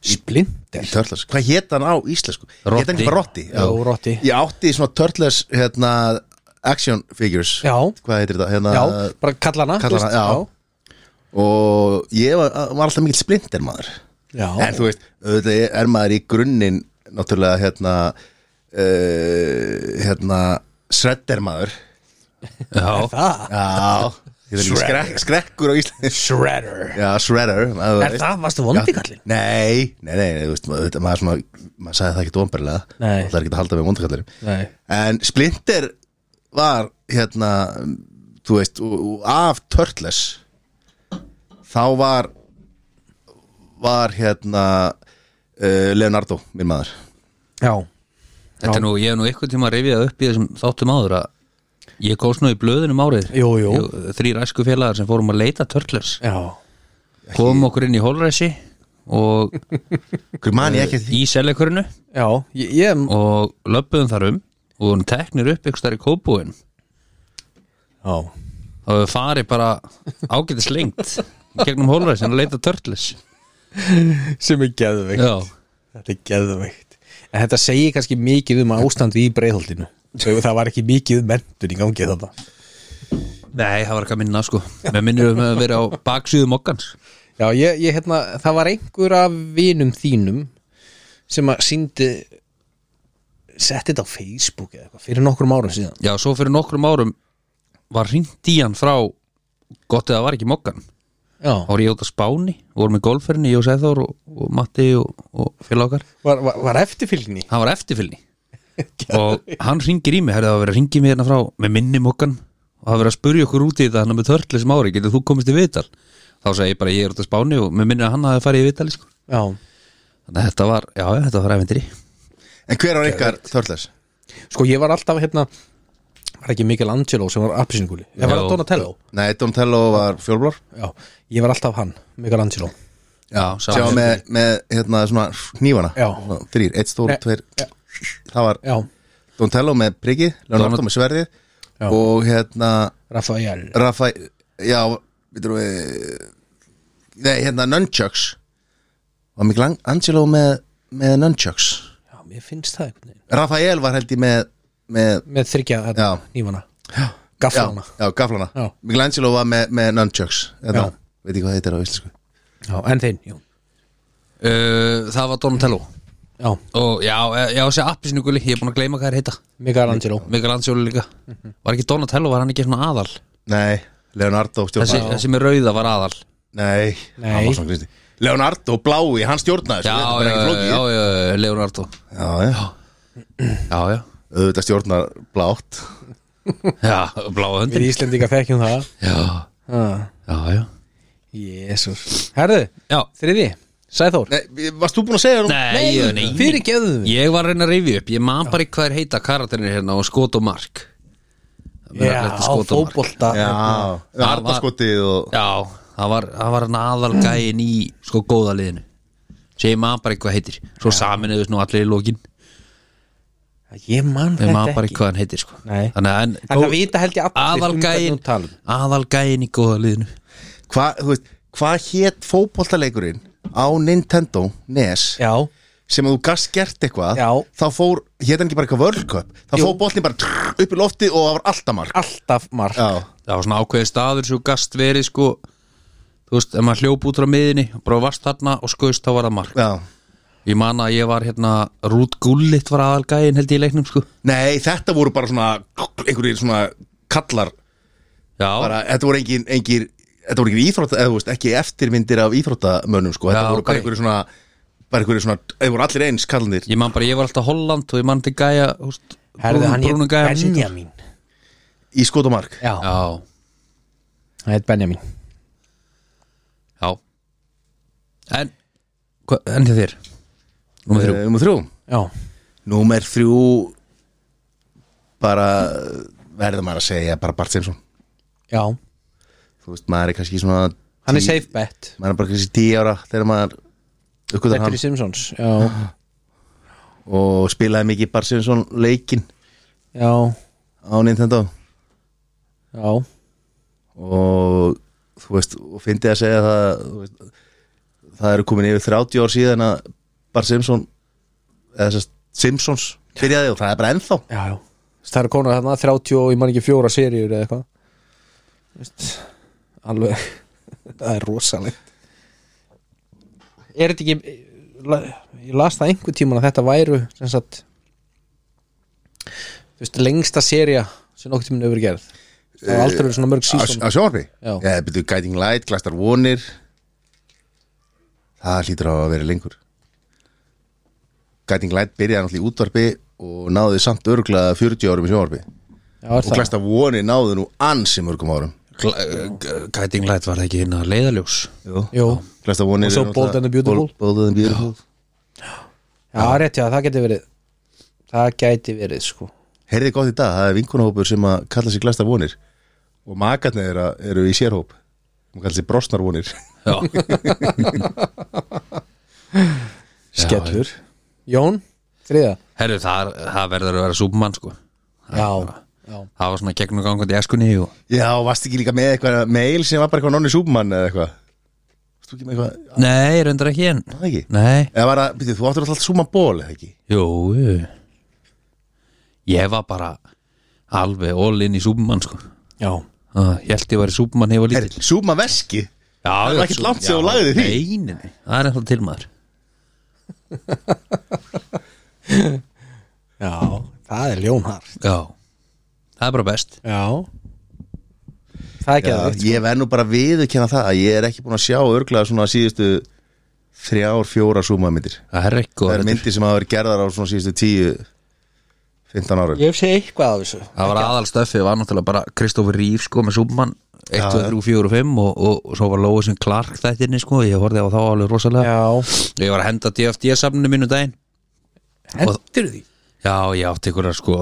B: Splinter
A: Turtles, hvað hétt hann á íslensku?
C: Rotti.
A: Hétt hann ekki bara Rotti?
B: Já, Rotti.
A: Ég átti svona Turtles hérna, action figures
B: Já.
A: Hvað heitir þetta? Hérna,
B: Já, bara kalla hana
A: Kalla
B: þú
A: hana, já. Og ég var, var alltaf mikill splinter maður
B: Já,
A: En þú veist, auðvitað er maður í grunninn Náttúrulega hérna uh, Hérna Shredder maður
C: Já,
B: það
A: Já ég veit ekki, skrek, Skrekkur á íslensku
B: Shredder
A: Já, Shredder maður,
B: Er það, varstu vondi kallin?
A: Nei, nei, nei, nei þú veist, maður, þetta- maður, svona, maður sagði það ekki dómberlega
B: Nei.
A: Það er ekki að halda með
B: Nei.
A: vondakallari En Splinter var hérna, þú veist, og- og af Turtles Þá var, var hérna uh, Leonardo, minn maður
B: Já,
C: þetta er nú, ég hef nú einhvern tíma að rifjað upp í þessum þáttum áður að ég góðs nú í blöðunum árið
B: Jú, jú.
C: Þrýr æsku félagar sem fórum að leita törlers
B: já
C: komum okkur inn í holræsi og
A: Hver man ég ekki eftir því?
C: í seljakurinu
B: Já, ég, ég
C: og löppuðum þar um og hún teknir upp ykkur stær í kópúin
B: Já,
C: þá hefur farið bara ágætis lengt gegnum holræsin að leita törlis
B: sem er geðveikt
C: Já,
B: Þetta er geðveikt En þetta segir kannski mikið um ástandu í breiðholdinu Það var ekki mikið mentun í gangi þetta
C: nei, það var ekki að minna sko með minnir um að vera á baksýðum okkans
B: Já, ég, ég hérna, það var einhver af vinum þínum sem að síndi setti þetta á Facebook eða eitthvað fyrir nokkrum árum síðan
C: Já, svo fyrir nokkrum árum var hringt í hann frá gott eða var ekki mokkan þá
B: Já,
C: var ég út á Spáni, vorum í golferinni ég og Sæþór og, og Matti og, og félagar
B: var, var, var eftirfylgni
C: hann var eftirfylgni og hann ringir í mig, herði það var verið að ringi mig hérna frá með minni mokkan og það var verið að spurja okkur út í þetta hann er með törli sem ári, getur þú komist í viðtal þá sagði ég bara ég er út á Spáni og með minni að hann hafi farið í viðtal sko.
B: Já,
C: þannig að þetta var, já þetta var efendri
A: En hver var ykkar Turtles?
B: sko ég var alltaf hérna var ekki Michelangelo sem var appisinguli ég var
C: Já.
B: Donatello
A: Nei, Donatello var fjólblár
B: Já, ég var alltaf hann, Michelangelo
C: já,
A: Sem var með, með hérna, svona hnífana
B: Já.
A: Svona Þrír, eitt stór,
B: Nei,
A: tveir Það var
B: Já,
A: Donatello með priggi, Leonardo með sverði
B: Já.
A: og hérna
B: Raphael
A: Rafa, já veitum við nei, hérna Nunchucks var mikil Angelo með, með Nunchucks
B: Já, mér finnst það einhvern veginn
A: Rafael var held ég með, með
B: með þryggja hérna,
A: Já.
B: nýfana
A: já,
B: gafflana
A: já, gaflana,
B: Já.
A: mikil Angelo var með, með Nunchucks, hérna,
B: Já.
A: veit ég hvað þetta er á íslensku
B: Já, en þeim, jú
C: uh, það var Donatello
B: Já,
C: og já, eh, já þessi appisnuguli, ég er búin að gleyma hvað er heita
B: Michelangelo
C: Michelangelo líka Var ekki Donatello, var hann ekki svona aðal
A: nei, Leonardo
C: Þessi,
A: stjórnaði
C: þessi með rauða var aðal
A: nei,
B: Nei.
A: hann var svona kristi Leonardo blái, hann stjórnaði
C: Já,
A: þessu, þetta er
C: já,
A: bara ekki
C: já,
A: flókið.
C: já, já, Leonardo
A: já, já,
C: Já, já,
A: auðvitað stjórnar blátt
C: já, bláa
B: Við
C: höndin
B: Íslendinga þekkjum það
C: Já,
B: Já
C: já, já
B: Jésús Ah, Herðu,
C: Já,
B: þriði, Sæþór
A: Nei, varst þú búin að segja það?
C: nei, nei, nei.
B: fyrir gefðu við
C: Ég var að reyna að reyfi upp, ég man bara ekki hvað er heita karaterinir hérna og skot og mark Það er
B: Já,
C: allir skot og mark.
B: fótbolta
A: Já, Arnaskotið og
C: Já, það var, það var naðal gæin í sko góða liðinu sem ég maður bara eitthvað heitir svo saminuðus nú allir í lokin
B: Ég man
C: sem
B: þetta
C: maður bara
B: ekki
C: eitthvað hann heitir sko.
B: Nei.
C: þannig að en,
B: En það vita held ég allir um
C: aðal
B: hvern
C: gæin,
B: þú talar um.
C: aðal gæin í góða liðinu
A: hvað, þú veist, hvað hétt fótboltaleikurinn á Nintendo NES
B: Já,
A: sem að þú gast gert eitthvað
B: Já.
A: þá fór, hétt hann ekki bara eitthvað World Cup þá fór boltin bara trrr, upp í lofti og það var alltaf mark
B: alltaf mark
A: Já,
C: það var svona ákveði staður svo gast verið sko þú veist, ef maður hljóp út frá miðinni bara varst þarna og skoist þá var það mark
A: já
C: ég man að ég var hérna Rút Gullit var aðal gæin held ég í leiknum sko
A: Nei, þetta voru bara svona einhverjir svona kallar
C: Já,
A: bara, þetta voru engin, engin þetta voru engin íþrótta, eða þú veist, ekki eftirmyndir af íþróttamönnum, sko, þetta
C: Já,
A: voru bara
C: ok.
A: einhverju svona bara einhverju svona, eða voru allir eins kallanir
C: ég man bara, ég var alltaf Holland og ég man til gæja, þú veist
B: Herðu, hann
C: brúnum
B: hétt
C: gæja sem-
B: Benjamin
A: í skot og mark
B: Já,
C: Já,
B: hann hétt Benjamin
C: já En, hva, en til þér Númer þrjú
A: Eh, Númer þrjú
B: Já,
A: Númer þrjú bara verður maður að segja bara Bart Simpson
B: já,
A: þú veist, maður er kannski svona
B: hann er
A: tí-
B: safe bet
A: maður er bara kannski tíu ára þegar maður uppgöðar
B: Þetta
A: hann
B: er í Simpsons Já,
A: og spilaði mikið Bart Simpson leikinn
B: já,
A: á Nintendo
B: já
A: og þú veist, og fyndi að segja það þú veist, það eru komin yfir 30 ár síðan að Bart Simpson eða þess að Simpsons byrjaði og það er bara ennþá
B: Já, já Það eru konar þarna 30 og ég man ekki fjóra seríur eða eitthvað Veist, Alveg Það er rosalegt Er þetta ekki Ég las það einhver tíman að þetta væru sem sagt þú veist, lengsta sería sem nokkuð tíminn hefur verið gerð Það er aldrei verið svona mörg sísón
A: á sjónarfi
B: Já.
A: eða byrjuðu Guiding Light, Glastar Vonir það hlýtur á að vera lengur Guiding Light byrjaði náttúrulega í útvarpi og náði samt örglega 40 árum í sjónarfi
B: Já, er
A: og
B: það
A: Glastar Vonir náði nú ansi mörgum árum
C: Guiding Light var það ekki hérna leiðaljós
B: Jú,
A: Glastar Vonir
B: Og svo
A: er náttúrulega-
B: Bold and the Beautiful.
A: Bold- Bold and the Beautiful
B: já, rétt já, það geti verið Það gæti verið, sko
A: heyrði gott í dag, það er vinkunahópur sem að kalla sig glæsta vonir og makarnir eru, eru í sérhóp hún kalla sig brosnar vonir
C: Já,
B: Skellur Jón, þriða
C: herru, það, það verður að vera súpmann sko
B: Já, já
C: Það var svona gegnum gangandi í eskunni og
A: já, og varst ekki líka með eitthvað mail sem var bara eitthvað nonni súpmann eða eitthvað varst þú ekki með eitthvað,
C: Nei, reyndar ekki en
A: það ekki
C: Nei,
A: eða var að, byrju, þú áttur alltaf súpmann ból eða ekki
C: jú, jú Ég var bara alveg all in í súpmann sko
B: Já,
C: Ah, Ég held ég var í súpmann hefur lítill
A: Heyrðu, súpmann veski
C: Já,
A: það er
C: já,
A: ekkert
C: svo-
A: langt síðan
C: já,
A: þú lagðir því.
C: Nei, nei, nei, það er ennþá til maður
B: já, það er ljónhart
C: Já, það er bara best
B: Já Það er
A: já,
B: geðveikt
A: ég verð nú bara viðurkenna það að ég er ekki búin að sjá örglega svona síðustu þrjár, fjóra súpmann myndir
C: Það er ekki
A: það
C: góð
A: eru myndir sem hafa verið gerðar á svona síðustu tíu 15 árum
B: Ég hef segið eitthvað af þessu
C: Það var aðal stöfið, var náttúrulega bara Kristófur Ríf sko með Súbmann 1, 2, 3, 4 og 5 og, og, og svo var Lóa sem Clark þættinni sko, ég horfði á þá alveg rosalega
B: Já
C: Ég var að henda DFD safninu mínu um daginn
B: Hendur því
C: Já, ég átti ykkur að sko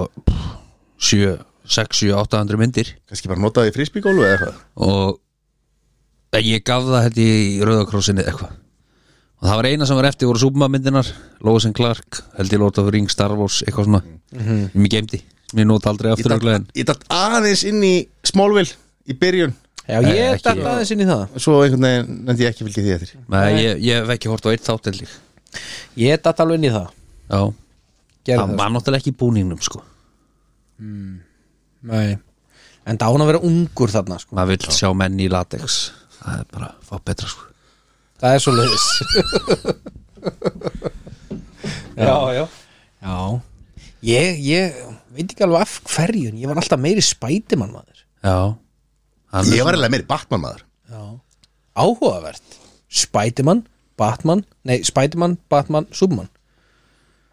C: 7, 6, 7, 800 myndir
A: kannski bara notaði frisbygólu eða eitthvað
C: og en ég gaf það held ég í Rauðakrossinni eitthvað og það var eina sem var eftir voru Súbmann myndinar Lóa sem Clark, held ég Lóta Ring, Star Wars eitthvað svona, mm -hmm. mér geimdi mér nota aldrei
A: Ég
C: aftur
A: datt-
C: örugglega, en-
A: ég datt aðeins inn í Smallville í byrjun
B: Já, ég
C: Nei,
B: er
C: ekki
B: datt
C: ég.
B: aðeins inn í það
A: svo einhvern veginn nefndi ég ekki fylgið því eftir
C: Nei, ég, ég hef ekki hort á eitt þátt held ég
B: Ég er datt alveg inn í það
C: Já,
B: Gerðu
C: það
B: það
C: var náttúrulega ekki í búningnum sko
B: Nei En það hún að vera ungur þarna sko
C: maður vill sjá menn í latex það er bara að fá betra sko
B: Það er svo leiðis Já, já Já Ég, ég veit ekki alveg af hverjun Ég var alltaf meiri spætimann maður
C: Já Hann
A: ég
C: er
A: var eiginlega meiri Batman maður
B: Já Áhugavert Spætimann, Batman Nei, Spætimann, Batman, Superman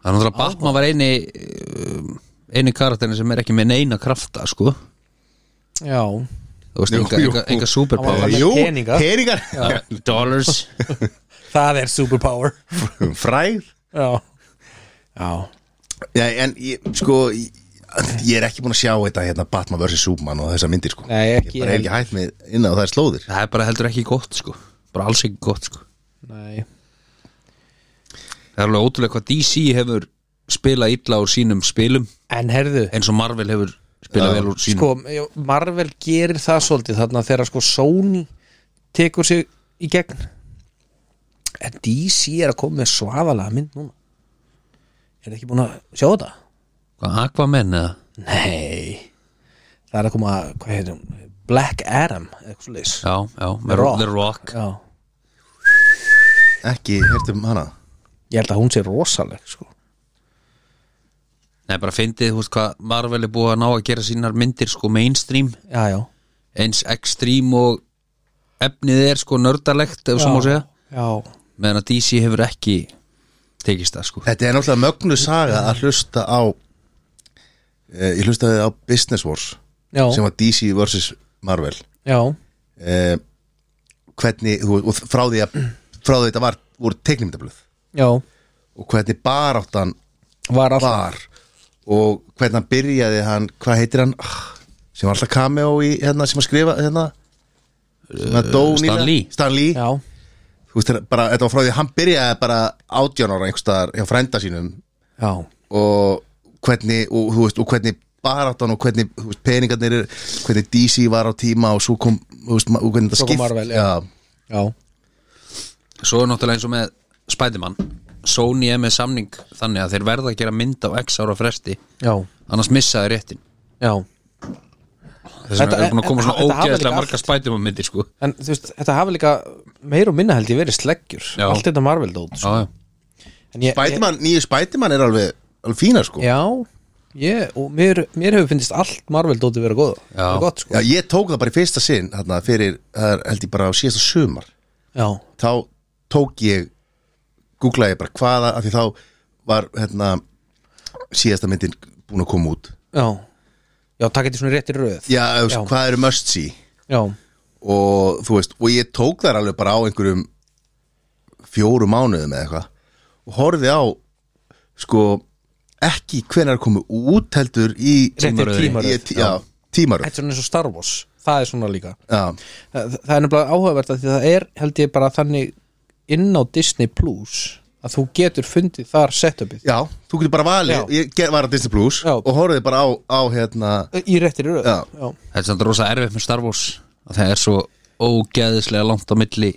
C: það er náttúrulega Batman var eini eh, um, eini karakterin sem er ekki með neina krafta sko
B: Já
C: Þú Þú veist,
A: Jú,
C: enga,
A: jú.
C: enga, enga superpower
B: Hann var-
A: Jú,
B: peninga.
A: peningar
C: Dollars
B: Það er superpower
A: Fræð
B: Já Já
A: Já, en ég, sko ég, ég er ekki búin að sjá þetta hérna Batman vs. Superman og þessa myndir sko
B: Nei, ekki
A: Ég bara hef ekki hægt með inn á þær slóðir
C: Það er bara heldur ekki gott sko Bara alls ekki gott sko
B: Nei
C: Það er alveg ótrúlega hvað DC hefur spilað illa úr sínum spilum
B: En herðu
C: eins og Marvel hefur spilað vel úr sínum
B: Sko, Marvel gerir það svolítið þarna þegar sko Sony tekur sig í gegn En DC er að koma með svaðalega mynd núna Er ekki búin að sjá þetta?
C: Hvað Aquaman eða?
B: Nei Það er að koma, hvað heitir hún? Black Adam, eitthvað svo leys
C: Já, já, með
B: Rock.
C: The Rock
B: Já
A: Ekki, hértum hana
B: Ég held að hún sé rosaleg sko
C: Nei, bara fyndið, þú veist hvað Marvel er búið að ná að gera sínar myndir sko mainstream
B: Já, já
C: eins ekstrím og efnið er sko nördalegt ef svo má segja
B: Já,
C: meðan að DC hefur ekki tekist það sko
A: Þetta er náttúrulega mögnu saga að hlusta á eh, Ég hlustaði á Business Wars
B: já,
A: sem var DC vs. Marvel
B: já,
A: eh, Hvernig, þú- og frá því að frá því þetta var, voru teiknumyndablöð
B: já
A: og hvernig baráttan
B: Var alltaf
A: var og hvernig hann byrjaði hann, hvað heitir hann Ah, sem var alltaf cameo í hérna sem að skrifa hérna sem að dó
C: Eh, Stan
A: nýlega.
C: Lee.
A: Stan Lee
B: Já,
A: þú veist þetta bara, þetta var frá því að hann byrjaði bara átján ára einhverstaðar hjá frænda sínum
B: já,
A: og hvernig og, þú veist, og hvernig baráttan og hvernig þú veist, peningarnir, eru, hvernig DC var á tíma og svo kom, þú veist, ma- og hvernig það
B: Svo kom
A: skipt
B: Marvel, já. já
C: Svo er náttúrulega eins og með Spiderman Sony er með samning þannig að þeir verða að gera mynd á X ára fresti
B: Já,
C: annars missa þeir réttin
B: já
C: þess
B: Þetta-
C: vegna er búin að koma svona
B: þetta hafa líka
C: ógeðslega
B: allt.
C: marga Spiderman myndir sko
B: En þú veist, þetta hafa líka meir og minna held ég verið sleggjur
C: Já.
B: Allt þetta Marvel-dót sko.
C: Já, já
B: En ég-
A: Spiderman, nýju Spiderman er alveg, alveg fína sko
B: ég- Já, ég, og mér, mér hefur finnist allt Marvel-dóti verið góð
C: Já.
B: verið gott, sko.
A: Já, ég tók það bara í fyrsta sinn þarna, fyrir, það er, held ég bara á síðasta sumar
B: já,
A: þá tók ég googlaði ég bara hvaða af því þá var hérna síðasta myndin búin að koma út
B: já Já, takk eitthvað svona rétt í röð
A: já, þú veist,
B: Já.
A: hvað eru must see
B: já,
A: og þú veist, og ég tók þær alveg bara á einhverjum fjóru mánuðum eða eitthvað og horfði á sko ekki hvenær komu út heldur í
B: Rétt í tímaröð.
A: í- tí- já, tímaröð
B: Þetta er svona eins og Star Wars Það er svona líka
A: já,
B: það, það er nefnilega áhugavert að því það er held ég bara þannig inn á Disney Plus að þú getur fundið þar setupið
A: já, þú getur bara valið
B: Já.
A: ég ger- var að Disney Plus
B: Já.
A: og horfði bara á, á hérna
B: í réttir röð
A: Já.
B: Já.
C: Þetta er samt rosa erfitt með Star Wars að það er svo ógeðislega langt á milli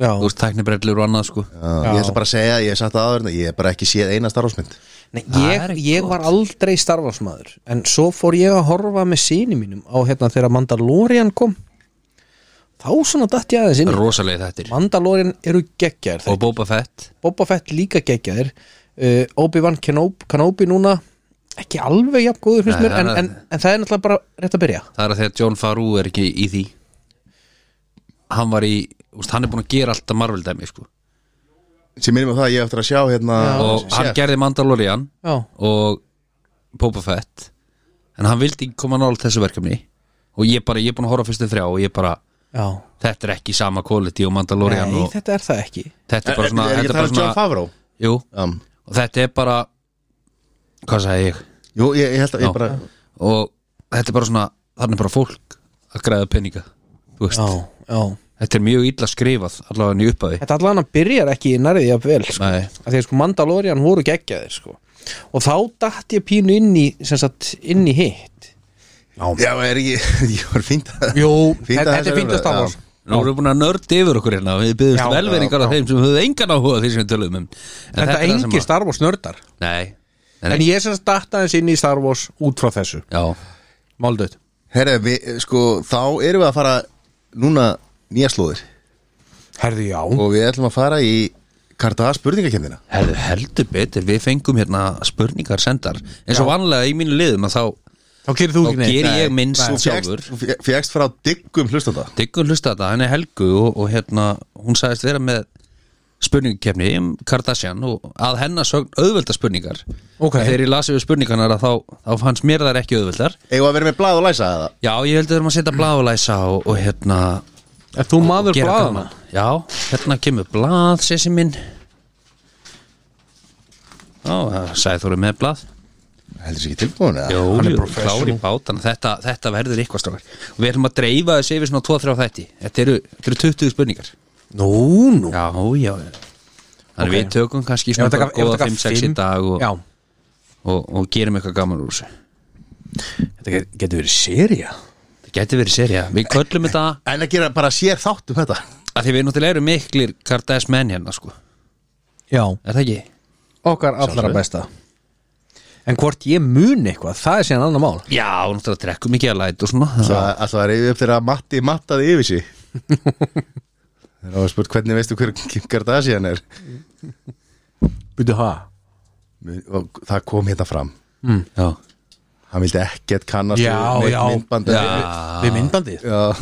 B: Já.
C: þú veist tæknibrellur og annað sko
A: Já. Ég ætla bara að segja, ég hef sagt það aður Ég hef bara ekki séð eina starfsmynd
B: Nei,
C: Það
B: ég,
C: er ekki
B: ég
C: gott.
B: var aldrei starfarsmaður en svo fór ég að horfa með síni mínum á hérna þegar Mandalorian kom þá svona datt ég aðeins inn í.
C: Rosalegi þettir
B: Mandalorian eru geggjaðir þeir.
C: Og Boba Fett
B: Boba Fett líka geggjaðir uh, Obi-Wan Kenobi, Kenobi núna ekki alveg jafn góður finnst
C: Nei,
B: mér en,
C: það er-
B: en, en það er náttúrulega bara rétt að byrja
C: Það er að þegar John Farú er ekki í því Hann var í úst, Hann er búin að gera alltaf Marvel dæmi sko.
A: Sem minnum á það að ég hef eftir að sjá hérna
C: Og
A: Chef.
C: hann gerði Mandalorian
B: Já,
C: Og Boba Fett En hann vildi ekki koma nála þessu verkefni Og ég bara, ég er búin að horfa á fyrstu þrjá Og ég bara,
B: já
C: þetta er ekki sama quality Og Mandalorian
B: Nei,
C: og
B: þetta er það ekki
C: þetta er bara svona
A: Er ekki að tala
C: Þetta er
A: um
C: bara
A: John
C: svona,
A: Favreau
C: jú,
A: um,
C: og þetta er bara Hvað sagði ég?
A: Jú, ég, ég held að
C: Já.
A: ég bara
C: Og þetta er bara svona, þannig er bara fólk Að græða peninga, þú veist
B: Já, já
C: Þetta er mjög illa skrifað, allavega hann í upphafi
B: Þetta allan að byrjar ekki í nærðið jafn vel sko.
C: Nei.
B: að því að sko Mandalorian voru geggjaðir sko. og þá datt ég pínu inn í sem sagt inn í hitt
A: Já, er ég, ég var fínt að
B: Jú,
A: Fínt að
B: þetta þetta
A: þessari
B: er fínt að
A: umræðu,
B: Star Wars
A: já.
C: Nú erum við búin að nörd yfir okkur hérna Við byggðumst
B: Já,
C: velveringar
B: já,
C: af þeim sem höfðu engan áhuga því sem við tölum um en
B: Þetta
C: er það sem
B: engir
C: að-
B: Star Wars nördar
C: Nei, nei,
B: En
C: nei.
B: ég sem sagt datt aðeins inn í Star Wars út frá þessu
C: Já,
B: Máldöð
A: Herra, við, sko, þá erum við að fara Núna nýja slóðir
B: Herði já
A: Og við ætlum að fara í Kardaða spurningakefnina
C: Herðu, heldur betur, við fengum hérna spurningar sendar eins og vanlega í mínu liðum að þá,
B: Þá gerir þú
C: þá
B: ekki
C: ger ég minnst
A: Þú
C: sjálfur
A: fékkst- þú fékkst frá diggum hlustanda
C: Diggur hlusta þetta, henni Helgu og, og hérna, hún sagðist vera með spurningakefni um Kardashian og að hennar sögn auðvelda spurningar
B: Ok.
C: þegar ég lasi við spurningarnar að þá, þá fannst mér þar ekki auðveldar
A: Eigum við að vera með blað og læsa það
C: já, ég heldur þurfum að setja bláðulæsa og, og hérna
B: Er þú maður
C: gera
B: blaðana?
C: gaman. já, hérna kemur blað, sessi minn já, það sagði þú eru með blað
A: Heldur þessi ekki tilbúin eða?
C: Jó,
B: hann er
C: jú,
B: professional.
C: klár í bátan þetta, þetta verður eitthvað strókar og við erum að dreifa þessu yfir svona 2-3 þætti þetta eru, þetta eru 20 spurningar
B: Nú, nú
C: Já, já Þannig við tökum kannski
B: Ég
C: svona
B: var að taka- ég var
C: góða
B: að taka
C: 5-6 í
B: fimm.
C: dag og,
B: Já,
C: og, og gerum eitthvað gaman úr þessu
B: þetta get- getur verið sérija
C: Það gæti verið serja, við köllum þetta
A: En að gera bara sér þátt um þetta
C: að því við náttúrulega erum miklir Kardas menn hérna sko,
B: Já,
C: er það ekki?
B: okkar allra
A: Sjálfsögðu.
B: besta En hvort ég muni eitthvað, það er síðan annar mál
C: Já, og náttúrulega drekkum mikið að læt og svona
A: Svo að- Alltaf að reyði upp þegar að Matti mattaði yfir sig Þegar það var spurt hvernig veistu hver Kim Kardashian er
B: Býtu það?
A: og það kom hérna fram
C: Já,
A: Hann vildi ekkert kannast
B: Já,
A: við neitt
B: já.
A: myndband
C: Já.
B: Við myndbandið?
A: já.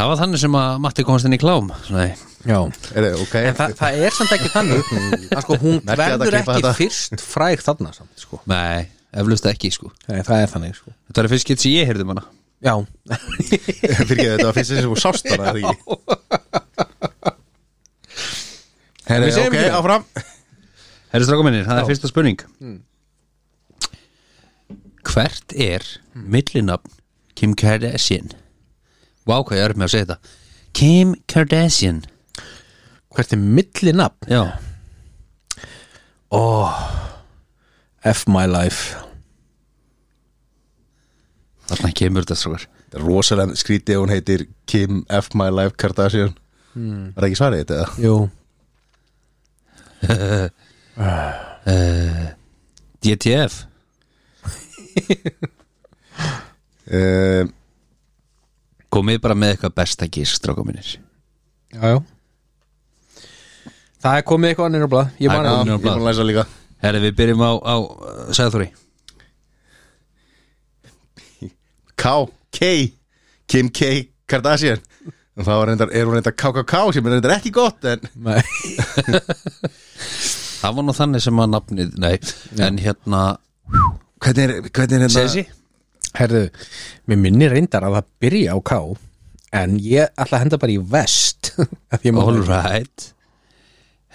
C: það var þannig sem að Matti komast inn í klám Nei,
B: Já
A: Er, það- ok,
B: En það, það er samt ekki þannig að sko hún
A: Merkilegt að
B: verður
A: klippa
B: ekki
A: þetta.
B: fyrst fræg þarna samt sko
C: Nei eflust ekki sko
B: Nei, það er þannig sko
C: Þetta er fyrst gett sem ég heyrði um hana
B: Já
A: fyrir þetta var fyrst sem þú sást hana eða ekki? Herri,
B: Við segjum
A: ok,
B: ekki.
A: áfram
C: Herri stráka minnir, það er fyrsta spurning Hvert er millinafn Kim Kardashian? Vá, hvað ég er með að segja þetta Kim Kardashian
B: Hvert er milli nafn?
C: Já,
B: F my life
C: þarna kemur þetta strákar
A: Þetta er rosalega skrítið hún heitir Kim F. My Life Kardashian mm. Var það ekki svarið þetta? eða?
B: Jú
C: DTF
A: Um,
C: Komið bara með eitthvað besta gís, stráka minnir
B: Já, já Það er komið eitthvað annir á blað Ég
C: Það er
B: man
A: já,
B: að
A: ég
C: komið.
A: er búin að læsa líka
C: Herri, við byrjum á, uh, á sagði Þóri
A: K, K, Kim K Kardashian En það var reyndar, er hún reyndar KKK sem er reyndar ekki gott en
B: Nei.
C: Það var nú þannig sem að nafnið, nei En hérna,
A: hvernig er, hvernig er hérna
C: Sessi
B: Herðu, mér minni reyndar að það byrja á K En ég ætla að henda bara í vest Af því ég man
C: All
B: ekki.
C: right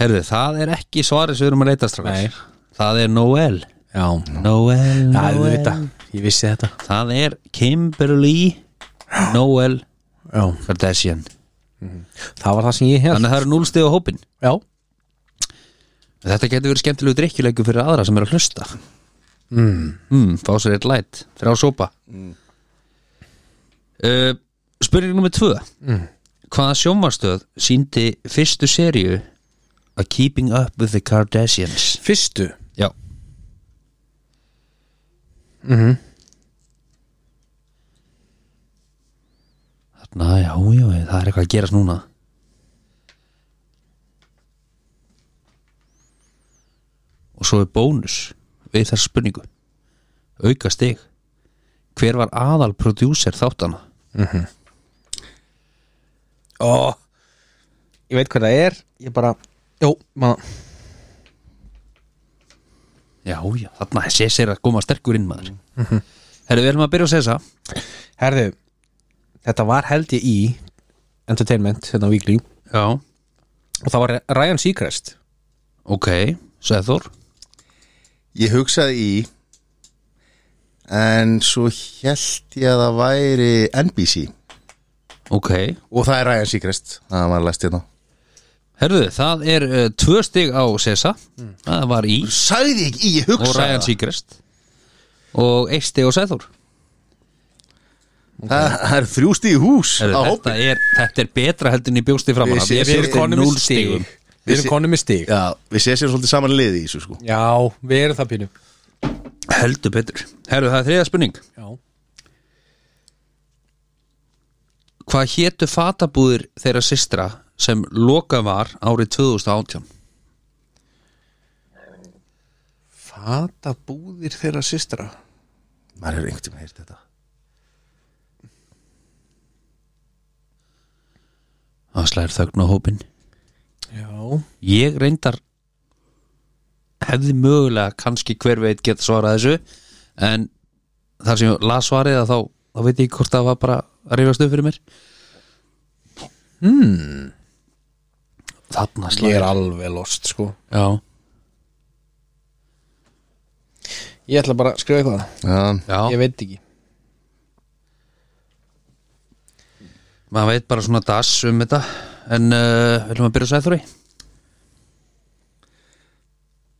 C: Herðu, það er ekki svarið sem við erum að leita
B: Nei.
C: strákar Það er Noel
B: Já,
C: Noel,
B: það er
C: Noel
B: þetta Ég vissi þetta
C: Það er Kimberly Noel
B: Já.
C: Kardashian
B: Það var það sem ég hef
C: Þannig að það eru núlstið á hópin
B: Já,
C: Þetta getur verið skemmtilegu drikkjuleiku fyrir aðra sem eru að hlusta mm. Fá sér eitt læt Þrjá sopa mm. uh, Spurning nummer tvö Hvaða sjónvarstöð síndi fyrstu seríu að Keeping Up with the Kardashians
B: fyrstu
C: Já Þarna, já, já, það er eitthvað að gerast núna Og svo er bónus við þessa spurningu Auka stig Hver var aðal prodúser þáttana?
B: Ó, Ég veit hvað það er Ég bara, jú, maður
C: Já, já, þarna Sess er að koma sterkur inn maður Herru, við erum að byrja að segja þessa
B: Herðu, þetta var held ég í Entertainment, hérna á Víkli
C: Já
B: Og það var Ryan Seacrest
C: Ok, Sæður
A: Ég hugsaði í en svo held ég að það væri NBC
C: Ok,
A: og það er Ryan Seacrest það var læst hérna
C: Herðu, það er uh, tvö stig á Sessa Það var í
A: Sæði ég ekki í, ég
C: og
A: hugsaði
C: Ryan Seacrest og eitt stig á Sæður
A: það það, það er þrjú stíð hús á
C: þetta,
A: hópin
C: er- þetta er betra heldur en í bjóst í framan
A: Við
C: af.
A: sé-
C: Ég
A: við
C: bjóst
A: erum
C: við
B: konum með
C: núll
B: stig.
C: stigum
B: Við erum konum með stig
A: Já, við séum svolítið saman liði í þessu sko
B: Já, við erum það pínu
C: Heldur betur Herðu, það er þriða spurning
B: Já,
C: Hvað hétu fatabúðir þeirra systra sem loka var árið 2018?
B: fata búðir þeirra systra
A: maður er einhvern tíma heyrt þetta
C: Það slæðir þögn á hópin
B: Já
C: ég reyndar hefði mögulega kannski hver veit geta svarað þessu en þar sem ég las svarið að þá, þá veit ég ekki hvort það var bara að reyfast upp fyrir mér hmm. þarna
B: Ég
C: slæðir
B: er alveg lost sko
C: já,
B: Ég ætla bara að skrifa eitthvað
A: Já,
C: já.
B: Ég veit ekki
C: maður veit bara svona das um þetta en uh, viljum að byrja sæþúri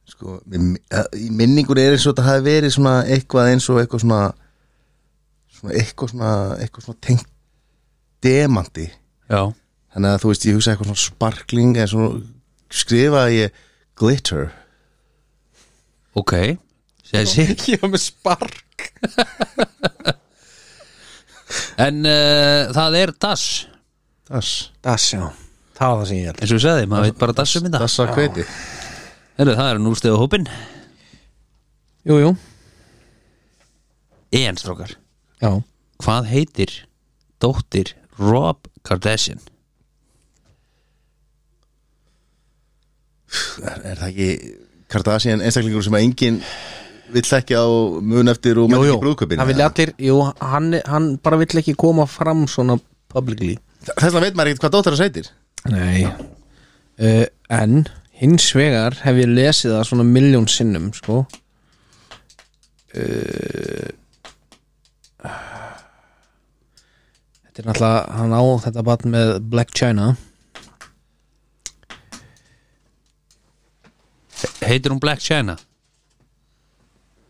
A: sko, í- í minningur er eins og þetta hafi verið svona eitthvað eins og eitthvað svona svona eitthvað svona eitthvað svona tengt demandi
C: já,
A: þannig að þú veist, ég hugsa eitthvað svona sparkling eða svona skrifaði ég glitter
C: ok þessi
B: Ég var með spark
C: en uh, það er das
A: das,
B: Das já Það var það sem ég held
C: eins og við segði, maður veit bara das um þetta
A: dasa kveiti
C: Heru, það er nú stefa hópin
B: Jú, jú
C: en strókar
B: Já
C: hvað heitir dóttir Rob Kardashian
A: er, er það ekki Kardashian einstaklingur sem að enginn vill ekki á mun eftir og menn ekki brúðköpin
B: Það vilja allir Jú, hann, hann bara vill ekki koma fram svona publicly
A: þess vegna veit maður ekkert hvað dóttir það heitir
B: Nei uh, En hins vegar hef ég lesið það svona miljón sinnum sko Eh, uh, Þetta er náttúrulega hann á þetta batn með Black China
C: heitir hún Black China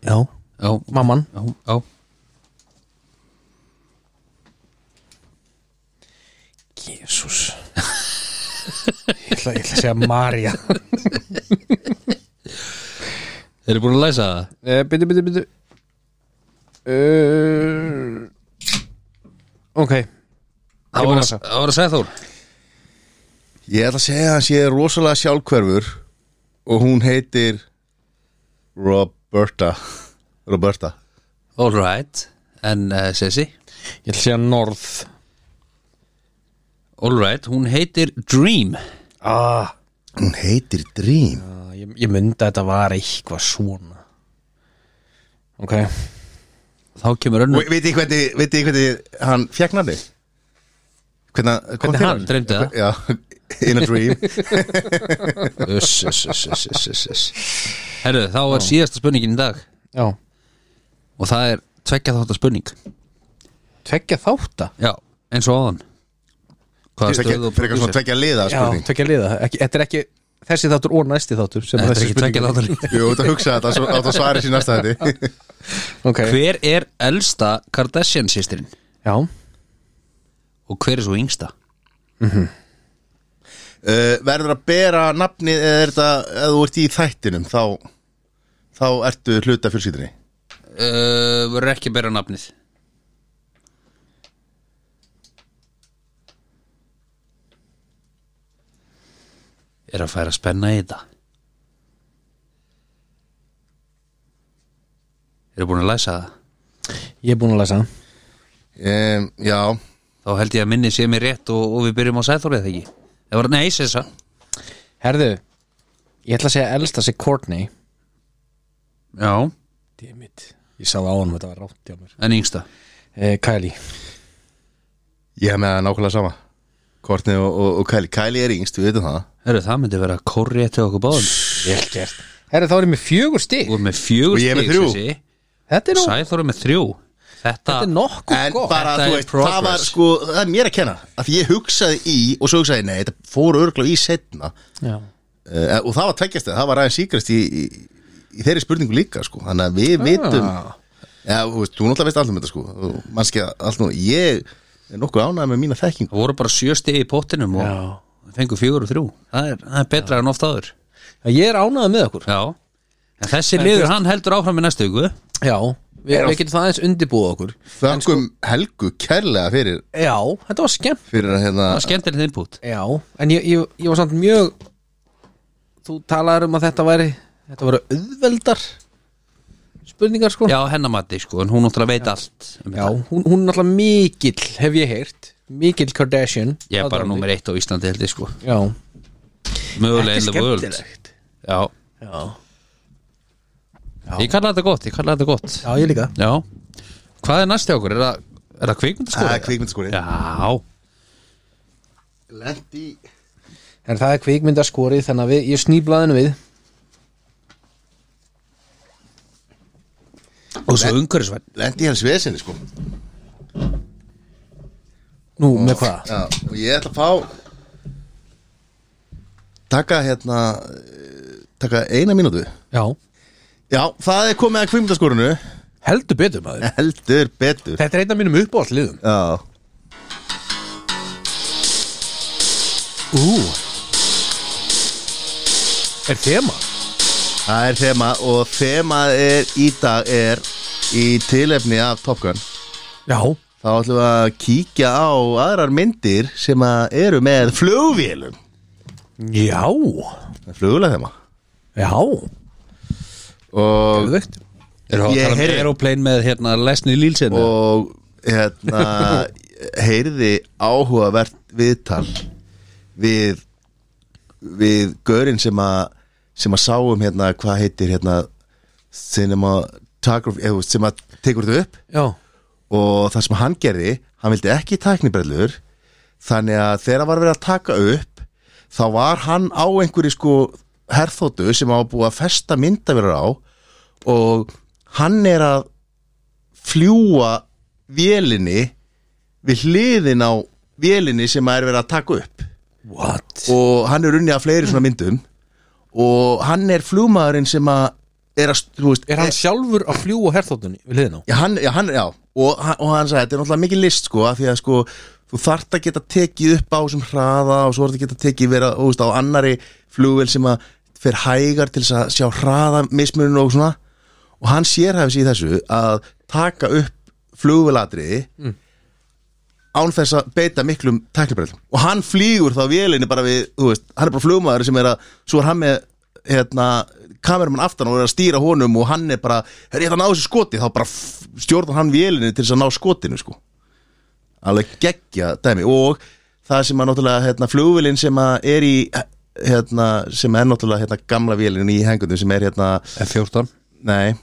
B: Já
C: já,
B: Mamman
C: já, já.
B: Jésús Ég ætla ég ætla að segja Marja
C: eru búin að læsa það?
B: Byttu, byttu, byttu uh, Ok
C: það
B: Ég
C: var
B: búin að
C: að,
B: læsa.
C: það var að segja þúr
A: ég ætla að segja að hann sé rosalega sjálfhverfur og hún heitir Roberta Roberta
C: all right, en uh, Sessi
B: Ég ætla að segja Norð
C: all right, hún heitir Dream
B: ah.
A: hún heitir Dream
B: Ég, ég myndi að þetta var eitthvað svona Ok
C: þá kemur
A: og
C: önnur
A: veit ég hvernig, veit ég hvernig hann fekk nafni hvernig,
C: Hvernig hann dreymdi það?
A: já, in a dream
B: Uss, uss, uss, uss, uss, uss, uss.
C: Heru, þá er síðasta spurningin í dag
B: Já,
C: og það er tvekja þáttar spurning
B: tveggja þátta
C: já, eins og áðan hvað
A: Tvekja-
C: stöðu og
A: frekar svona
C: producer?
A: tvekja liða
B: Já,
A: spurning
B: tveggja liða ekki, Þetta er ekki þessi þáttur og næsti þáttur sem
C: Þetta er
B: þessi
C: ekki tvekja
B: spurning-
C: þáttar
A: Jú, þetta hugsa þetta, svo átt að svara sér næsta þetta
B: Ok,
C: hver er elsta Kardashian sýstirinn
B: já
C: og hver er svo yngsta?
A: uh, Verður að bera nafnið eða er þetta, eða þú ert í þættinum þá, þá ertu hluta fjölskyldinni
C: Uh, verður ekki að bera nafnið Er að færa spenna í þetta Eru búin að læsa það?
B: Ég er búin að læsa
A: um, Já,
C: Þá held ég að minni sé mér rétt og, og við byrjum á sæþórið þegar ekki Það var neis þessa
B: Herðu, ég ætla að segja elsta sig Courtney
C: Já,
B: Dimmit, ég sá það á hann þetta var rátt hjá mér
C: en yngsta
B: eh, Kylie,
A: ég hef með það nákvæmlega sama Courtney og, og, og Kylie Kylie er yngst, við veitum það
C: Heru, Það myndi vera korrið til okkur báðum
B: vel gert Herri, þá erum við fjögur stig
C: Þú er með fjögur
A: Og ég er með
C: stig,
A: þrjú.
C: Sessi.
B: Þetta er, nú,
C: Sæþór er með þrjú Þetta,
B: þetta er nokkuð
A: En
B: gott
A: bara,
C: Þetta
A: þú
C: er
A: veist, það var
C: progress.
A: sko, það er mér að kenna að ég hugsaði í og svo hugsaði, nei, þetta fór örgla í setna
B: Já.
A: uh, og það var tveggjast það var aðeins síkrast í, í, í þeirri spurningu líka sko. þannig að
C: Ah.
A: við vitum já, þú veist, þú náttúrulega veist allt um þetta sko. og mannski allt nú, ég er nokkuð ánægð með mína þekkingu
C: Það voru bara sjö stegi í pottinum og
B: Já.
C: fengu fjögur og þrjú Það er, það er betra en oft áður
B: Já, Ég er ánægð með okkur
C: Já En þessi liður hann heldur áfram í næstu viku
B: Já, við, við getum það eins undirbúið okkur
A: þakkum
C: sko-
A: Helgu kærlega fyrir
B: Já, þetta var skemmt
A: fyrir að hérna
C: Það er skemmtilegt input
B: Já, en ég, ég, ég var samt mjög Þú talaðir um að þetta væri Þetta væri auðveldar Spurningar sko
C: Já, hennamati sko, en hún náttúrulega veit allt um
B: Já,
C: þetta.
B: hún, hún er alltaf mikill Hef ég heyrt, mikill Kardashian
C: Ég er bara
B: Aðdáandi.
C: númer eitt á Íslandi held ég sko
B: Já
C: mögulega in the world já,
B: Já.
C: ég kalla þetta gott, ég kalla þetta gott
B: Já, ég líka
C: já, hvað er næst hjá okkur, er það, er það kvikmyndaskóri?
A: Það er kvikmyndaskóri
C: já,
A: Lent í
B: En það er kvikmyndaskori þannig að við, ég snýblaðinu við
C: og svo umhverfisvæn
A: Lent í hans vesinni sko
B: Nú, með hvað?
A: Já, og ég ætla að fá Taka hérna eh, Taka eina mínútu
B: Já
A: Já, það er komið að kvikmyndaskórunu
B: Heldur betur maður
A: Heldur betur
B: Þetta er einn af mínum uppáhaldliðum
A: Já,
B: Ú Er þema?
A: það er þema Og þema er í dag er Í tilefni af Top Gun
B: Já
A: Þá ætlum við að kíkja á aðrar myndir sem að eru með flugvélum
B: Já
A: Flugulega þema
B: Já
A: Og,
B: Veikt
C: er það að
A: Ég
C: tala um
A: heyrði-
C: aeroplane með hérna lesni lílsinn
A: og hérna heyrði áhugavert viðtal við við görinn sem að sem að sáum hérna hvað heitir hérna cinematography eða þú veist, sem að tekur þetta upp
B: Já
A: og það sem hann gerði hann vildi ekki tæknibrellur þannig að þegar hann var verið að taka upp þá var hann á einhverju sko herþótu sem á búið að festa myndavirur á og hann er að fljúa vélinni við hliðin á vélinni sem er verið að taka upp
B: What?
A: og hann er unni að fleiri svona myndum og hann er flugmaðurinn sem að er að, þú veist,
B: Er hann sjálfur að fljúa herþóttunni við liðin á?
A: Já, hann, já, hann, já. Og, hann- og hann sagði, þetta er náttúrulega mikið list sko, af því að sko, þú þart að geta tekið upp á sem hraða og svo þarft að geta tekið vera, þú veist, á annari flugvel sem að fer hægar til þess að sjá hraða mismuninu og svona og hann sérhæfis í þessu að taka upp flugvelatriði án þess að beita miklum tæknibrellum og hann flýgur þá vélinni bara við, þú veist, hann er bara flugmaður sem er að, svo er hann með hérna, kameramann aftan og er að stýra honum og hann er bara, herri ég ætla að ná þessu skoti þá bara f- stjórnar hann vélinni til þess að ná skotinu sko alveg geggja dæmi og það sem að náttúrulega hérna, flugvélinn sem að er í hérna, sem er náttúrulega hérna, gamla vélinn í hengundum sem er hérna,
C: F14
A: Nei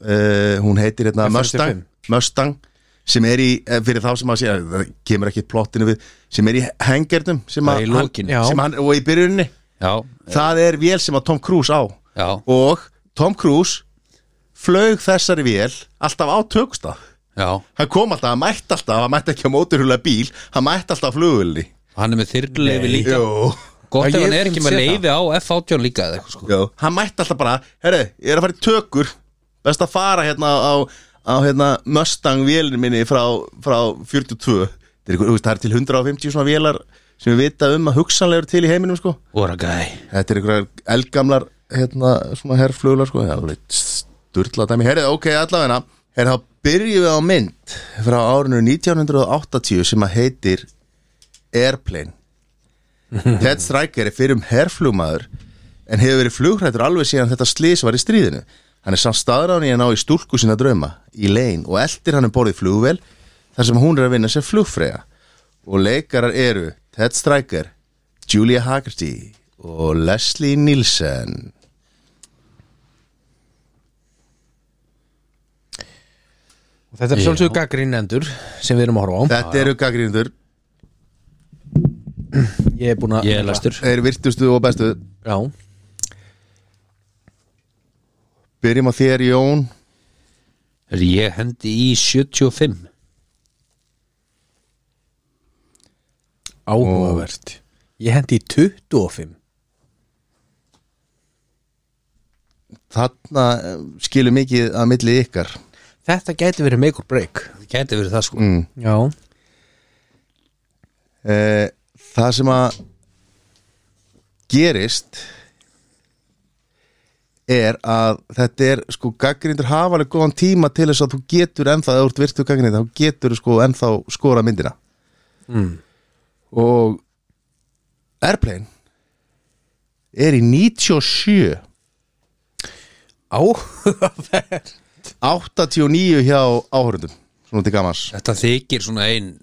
A: uh, Hún heitir hérna Mustang,
B: F45.
A: Mustang sem er í, eh, fyrir þá sem að sé það kemur ekki plottinu við, sem er í hengernum sem
C: Það
A: að
C: er í
A: hann-
C: lokin.
B: Já.
A: sem hann, og í byrjunni
C: já,
A: það er vél sem að Tom Cruise á
C: já,
A: og Tom Cruise flög þessari vél alltaf á tökustaf
C: já
A: hann kom alltaf, hann mætti alltaf, hann mætti ekki á móturhulega bíl hann mætti alltaf á flugvöldi
C: hann er með þyrrleifi líka
A: Jú
B: Já,
C: gott ef
B: ég
C: hann er ekki
B: finnst
C: með
B: sér
C: leifi á F18 líka eða eitthvað sko
A: Já. hann mætti alltaf bara, herru, ég er að fara í tökur best að fara hérna á, á hérna Mustang vélinu minni frá, frá 42 það er, ykkur, þú veist, það er til 150 svona vélar sem við vita um að hugsanlega eru til í heiminum sko.
C: What a guy
A: þetta er einhverjar eldgamlar hérna, svona herrfluglar sko. það er alveg sturla dæmi, herru, ok, allavegna herru, þá byrjum við á mynd frá árinu 1980 sem að heitir Airplane Ted Stryker er fyrir um herflugmaður en hefur verið flugrættur alveg síðan þetta slís var í stríðinu. Hann er samt staðrán í að ná í stúlku sína drauma, Elaine, og eldir hann um borðið flugvel þar sem hún er að vinna sem flugfreyja. Og leikarar eru Ted Stryker, Julia Haggerty og Leslie Nielsen.
B: Og Þetta er sjálfsögur gaggrinnendur sem við erum að horfa á
A: Þetta eru gaggrindur,
B: Ég er búin að
C: ég er læstur
A: þeir virtustu og bestu.
B: Já
A: Byrjum á þér, Jón.
C: Herri, ég hendi í 75
B: Áhugavert Ég hendi í 25
A: Þarna eh, skilur mikið að milli ykkar.
B: Þetta gæti verið make or break
C: það gæti verið það sko
A: Mm.
B: Já
A: Eh, það sem að gerist er að þetta er sko gaggrindur hafa alveg góðan tíma til þess að þú getur ennþá, eða þú ert virtu gaggrindur þá getur þú sko ennþá skora myndina
B: mm.
A: og Airplane er í 97
B: Áhugavert
A: 89 hjá áhörundum svona til gamans
C: þetta þykir svona ein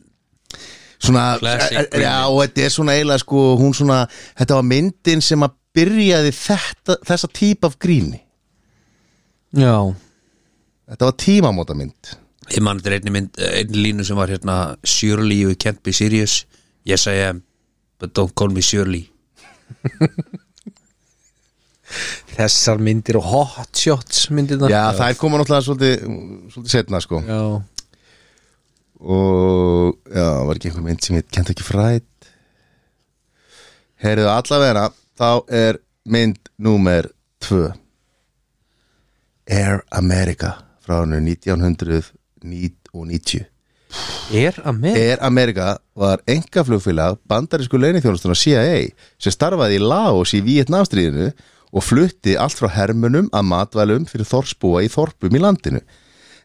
A: svona,
C: Classic
A: e- e-
C: Britney.
A: já, og þetta er svona eiginlega sko, hún svona, þetta var myndin sem að byrjaði þetta, þessa típ af gríni
B: Já,
A: þetta var tímamóta mynd
C: Ég mann þetta er einni, mynd, einni línu sem var hérna Surely you can't be serious Yes I am, but don't call me Surely
B: þessar myndir og hot shots myndir það
A: já, þær koma náttúrulega svolítið, svolítið setna sko
B: Já,
A: og já, var ekki einhver mynd sem ég kent ekki frætt heyrðu allavega þá er mynd númer 2 Air America frá árinu 1990
B: er að með
A: Air America var engaflugfélag bandarísku leinithjónustuna CIA sem starfaði í Laos í Vietnamstríðinu og flutti allt frá hermunum að matvælum fyrir þorpsbúa í þorpum í landinu.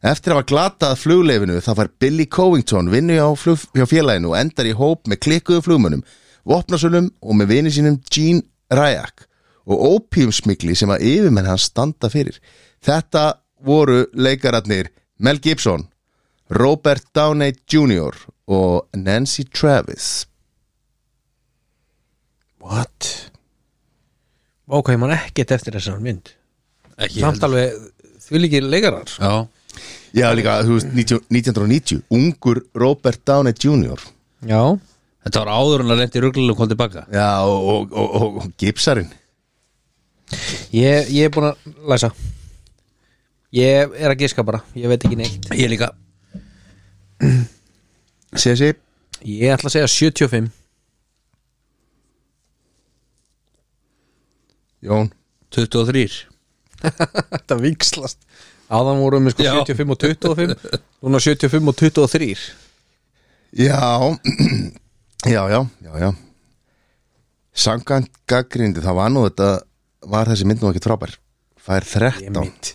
A: Eftir að hafa glatað flugleifinu þá fær Billy Covington vinnu hjá, flug, hjá félaginu og endar í hóp með klikkuðu flugmönnum, vopnasunum og með vini sínum Gene Rajak og opiumsmikli sem að yfirmenn hans standa fyrir. Þetta voru leikararnir Mel Gibson, Robert Downey Jr. og Nancy Travis
B: What? Ok, ég man ekkert eftir þessar mynd
C: Ekki
B: Samt alveg því líki leikarar sko.
C: Já,
A: Já líka, þú veist, 90 1990 Ungur Robert Downey Jr.
B: Já,
C: þetta var áður en að lendi ruglunum kom tilbaka
A: Já, og, og, og, og, og gipsarinn
B: ég, ég er búin að læsa Ég er að giska bara, ég veit ekki neitt
C: Ég líka
A: Sér sér
B: Ég ætla að segja 75
A: Jón
C: 23
B: Þetta vikslast Áðan vorum við sko
C: Já.
B: 75 og 25 Núna 75 og 23
A: Já, já, já, já, já. Sangan gaggrindi, það var nú þetta var þessi mynd nú ekki frábær Fær 13
B: Dæmit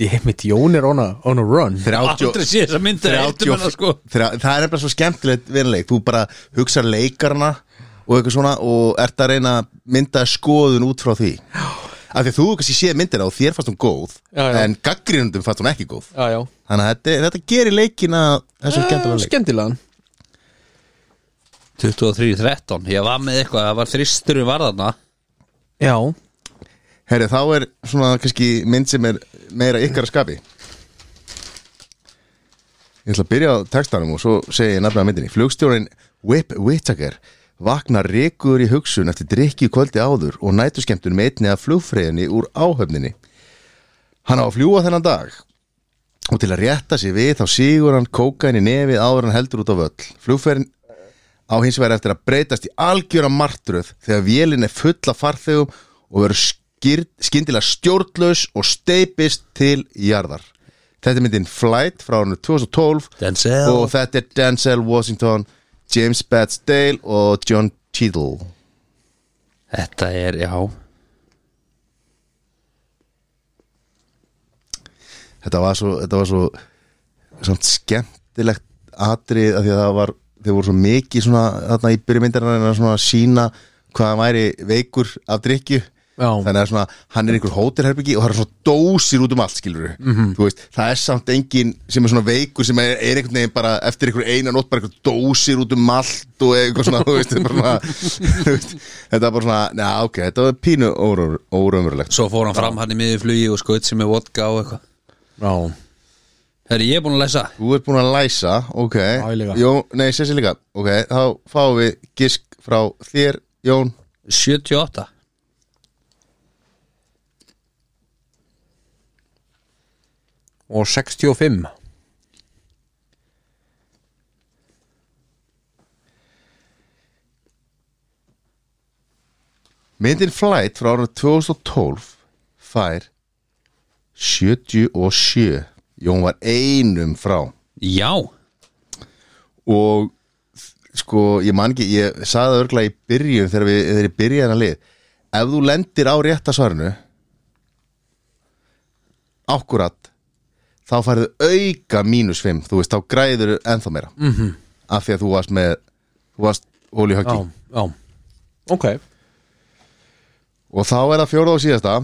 B: Dæmit, Jón er on a, on a run
A: 30
C: Aldrei sé þessa mynda eftir manna sko
A: þegar, það er nefnilega svo skemmtilegt vinleik, þú bara hugsar leikarna og eitthvað svona og ert að reyna að mynda skoðun út frá því af því að þú kannski séð myndina og þér fannst hún góð
B: Já, já.
A: en gaggrínundum fannst hún ekki góð
B: Já, já
A: þannig að þetta, þetta gerir leikina
C: Ah,
A: þessum skemmtilega leik
B: Skemmtilegan
C: 23, 13, ég var með eitthvað Það var þristur við varðarna
B: Já
A: Herri, þá er svona kannski mynd sem er meira ykkar að skapi Ég ætla að byrja á textanum og svo segi ég nafnið á myndinni Flugstjórin Whip Whittaker vaknar reykur í hugsun eftir drikki kvöldi áður og nætuskemtun með einni af flugfreyðinni úr áhöfninni Hann á að fljúa þennan dag og til að rétta sér við þá sígur hann kókain í nefið áður en hann heldur út á völl Flugferðin á hins vegar eftir að breytast í algjöra martröð þegar vélin er fulla farþegum og verður skýrd, skyndilega stjórnlaus og steipist til jarðar. Þetta er myndin Flight frá hann 2012
C: Denzel.
A: og þetta er Denzel Washington, James Batsdale og John Cheadle.
C: Þetta er, já
A: Þetta var svo, þetta var svo samt skemmtilegt atrið af því að það var, þau voru svo mikið svona, þarna í byrjumyndarinn að svona sína hvað hann væri veikur af drikju
B: Já.
A: þannig að svona, hann er einhver hótelherbyggi og það er svona dósir út um allt skilur mm -hmm. veist, það er samt engin sem er svona veikur sem er, er einhvern veginn bara eftir einhver eina nótt bara einhver dósir út um allt og eitthvað svona, þú veist, þetta er bara svona þú veist, þetta er bara svona, neða ok þetta var pínu óraum- óraumurlegt
C: Svo fór hann fram hann í miður flugi og skaut sem er vodka og eitthvað
B: Já
C: Herri, ég er búin að lesa
A: Þú ert búin að læsa, ok
B: ég líka.
A: Jó, nei, Sessi líka Ok, þá fáum við gisk frá þér, Jón
C: 78
B: Og 65
A: Myndin Flight frá árið 2012 fær 77 Jón var einum frá
C: Já,
A: og sko, ég man ekki, ég saði það örgla í byrjun þegar við, þegar ég byrjaði hennar lið ef þú lendir á rétta svarinu akkurat þá færðu auka mínus 5, þú veist, þá græður ennþá meira -hmm. af því að þú varst með þú varst hóli höggi
B: Já, já Ok
A: og þá er það fjórða og síðasta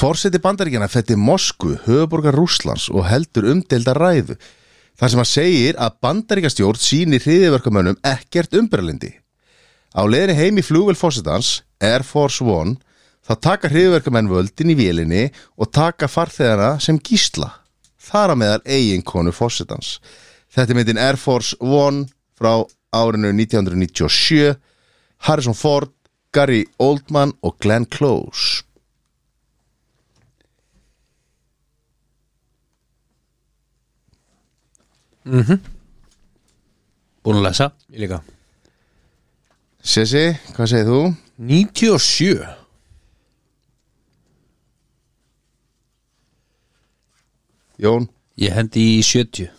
A: Forseti bandaríkjana fætti Mosku, höfuborgar Rússlands og heldur umdelda ræðu þar sem hann segir að bandaríkastjórn sýni hriðiverkamönnum ekkert umbrælindi. Á leiðinni heim í flugvel fósitans, Air Force One, þá taka hriðiverkamenn völdin í vélinni og taka farþegana sem gísla. Þar að meðal eiginkonu fósitans. Þetta er myndin Air Force One frá árinu 1997, Harrison Ford, Gary Oldman og Glenn Close.
C: Búin að lesa
B: Ég líka
A: Sessi, hvað segir þú?
B: 97
A: Jón?
C: Ég hendi í 70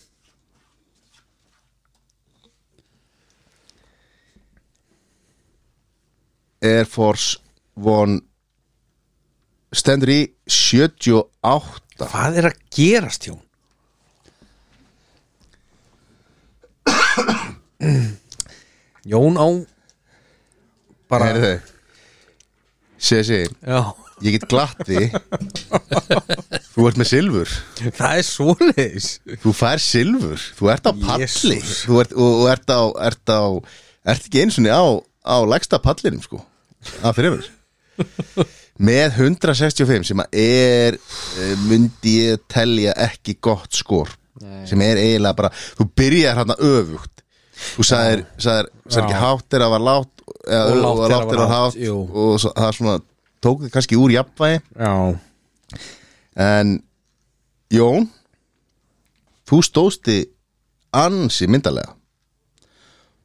A: Air Force One stendur í 78
B: Hvað er að gerast hjón? Jón á bara
A: Heyrðu Sessi,
B: Já,
A: ég get glatt því Þú ert með silfur
B: það er svoleiðis
A: Þú fær silfur, þú ert á palli
B: Jesús.
A: Þú ert, og, og ert á, ert á Ert ekki eins og niður á, á Lægsta pallinum sko Af þreifur Með 165 sem að er eh, Myndi ég telja ekki gott skor Sem er eiginlega bara Þú byrjar hérna öfugt Þú sagðir, sagðir, sagðir ekki hátt þegar það var látt eða,
B: Og lágt
A: lágt
B: þegar
A: þegar það var hátt
B: jú.
A: og svo, það svona tók þið kannski úr jafnvægi
B: Já,
A: En Jón Þú stóðst þið ansi myndarlega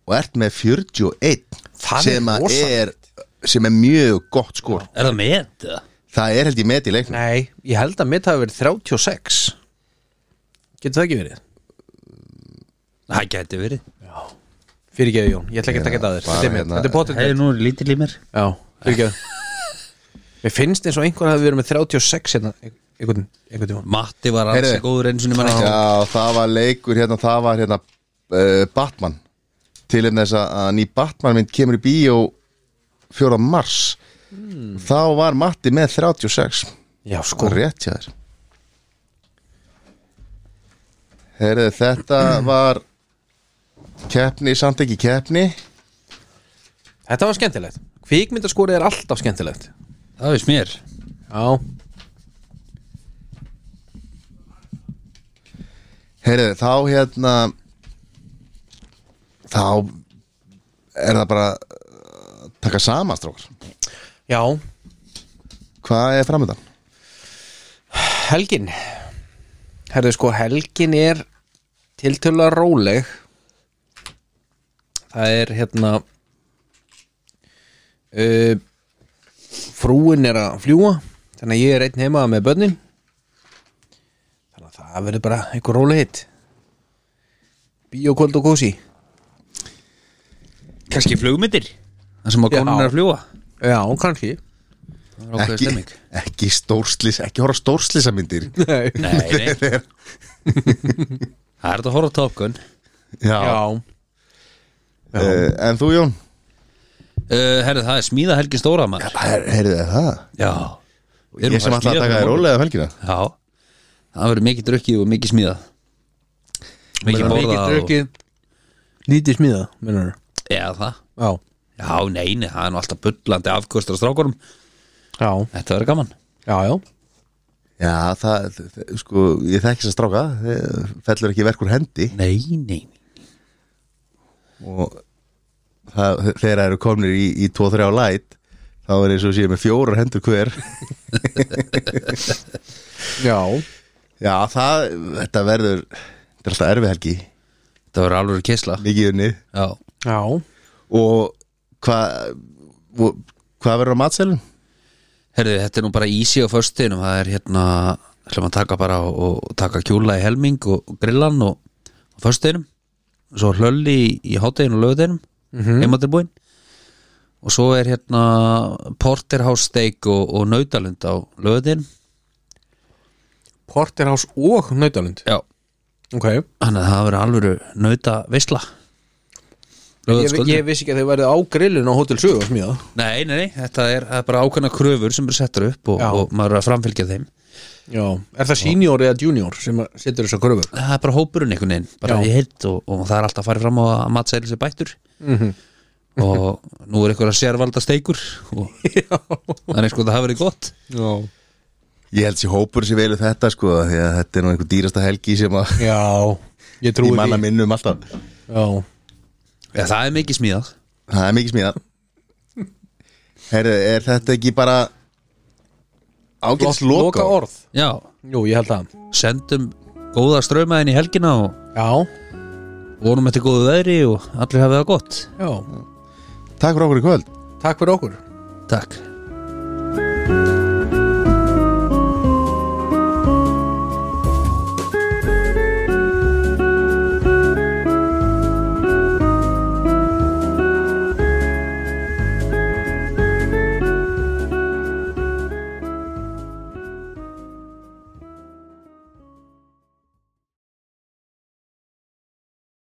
A: og ert með 41
B: Það
A: sem
B: er
A: að
B: rosalegt.
A: er sem er mjög gott skor
C: Er það með þetta?
A: það er held ég met í leiknum
B: nei, ég held að mitt hafi verið 36 Getur það ekki verið?
C: Það gæti verið
B: Fyrirgeðu Jón, ég ætla ekki að taka þetta að þér
A: Bara
B: Þetta er mitt,
A: hérna-
B: þetta er potið
C: Það er nú lítill í mér
B: Já, fyrirgeðu Mér finnst eins og einhver hafi verið með 36 hérna, einhvern, einhvern tímann
C: Matti var alls
A: Heyrðu.
C: góður eins og nýmann ekki
A: Já, það var leikur hérna, það var hérna uh, Batman til en þess að að ný Batman mynd kemur í bíó 4. mars
B: Hmm.
A: þá var Matti með 36
B: Já, sko,
A: og rétt hjá þér Herðu, þetta var keppni, samt ekki keppni
B: þetta var skemmtilegt Kvíkmyndaskorið er alltaf skemmtilegt
C: Það veist mér
B: Já,
A: Herðu, þá hérna þá er það bara uh, taka saman, strókar
B: já,
A: Hvað er framöndan?
B: helgin Herðu sko, helgin er tiltölulega róleg Það er hérna uh, Frúin er að fljúa Þannig að ég er einn heima með börnin Þannig að það verður bara einhver róleg hitt Bíókvöld og kósi
C: Kanski flugmyndir Það sem að
B: Já.
C: konan er að fljúa
B: Já, kannski
C: Það er ákveðið
A: ekki,
C: stemming
A: ekki stórslis ekki horfa á stórslisamyndir
B: Nei.
C: Nei, nei Það er þetta að horfa á Top Gun
B: Já,
A: Eh, en þú Jón
C: Uh, herri, það er smíða helgin stóra maður
A: Her, heyrðu þið það
C: Já Við erum
A: ég sem alltaf
C: að
A: að
C: smíða
A: taka
C: fyrir
A: þér
C: morgun.
A: rólega um helgina
C: Já Það verður mikið drukkið og mikið smíða Mikið
B: Meina,
C: borða
B: mikið
C: og...
B: drukkið Lítið smíða, minnur
C: Já, það
B: Já,
C: Já, neini, það er nú alltaf bullandi afkostur á strákurum
B: já,
C: Þetta verður gaman
B: já, já
A: já það, þ- þ- sko, ég þekki þess að stráka þið fellur ekki verkur hendi
C: Nei, nei
A: og það, þegar þeir eru komnir í, í 2-3 light þá er eins og séu með fjórar hendur hver
B: Já,
A: já það, þetta verður þetta er alltaf erfi helgi,
C: Þetta verður alveg kisla
A: mikið unni
C: Já
B: já
A: og hvað og hvað verður á matselum?
C: Herri, þetta er nú bara easy á föstinum Það er hérna ætlum að taka bara og, og taka kjúla í helming og, og grillan og, og föstinum Svo hlölli í, í hátæginu og lögudeginum mm -hmm. Heimatilbúin Og svo er hérna Porterhouse steak og, og nautalund á lögudeginum
B: Porterhouse og Nautalund
C: Já
B: Ok
C: Þannig að það verður alveg nauta veisla
B: ég, ég vissi ekki að þau verið á grillinu á Hotel Sögu að smíða
C: Nei, nei, nei, þetta er, það er bara ákveðna kröfur sem eru settur upp og,
B: Já.
C: og maður er að framfylgja þeim
B: Já, er það senior eða junior sem að setur þessar kröfur?
C: það er bara hópurinn einhvern veginn bara
B: Já.
C: í heilt og, og það er alltaf að fara fram á að matsæli sér bættur
B: Mhm.
C: og nú er einhverja sérvalda steikur og þannig sko það hafi verið gott
B: Já
A: Ég held sér hópur sem velu þetta sko því að þetta er nú einhver dýrasta helgi sem að
B: Já, ég
A: í
B: trúi
A: manna
B: því
A: minnum alltaf
B: Já,
C: ja, það er mikið smíðað
A: Það er mikið smíða Herðu, er þetta ekki bara ágætt
B: loka
A: loka
B: orð
C: já,
B: Jú, ég held það
C: sendum góða strömaðin í helgina og
B: Já,
C: vonum eftir góðu veðri og allir hafi það gott
B: já,
A: Takk fyrir okkur í kvöld
B: takk fyrir okkur
C: takk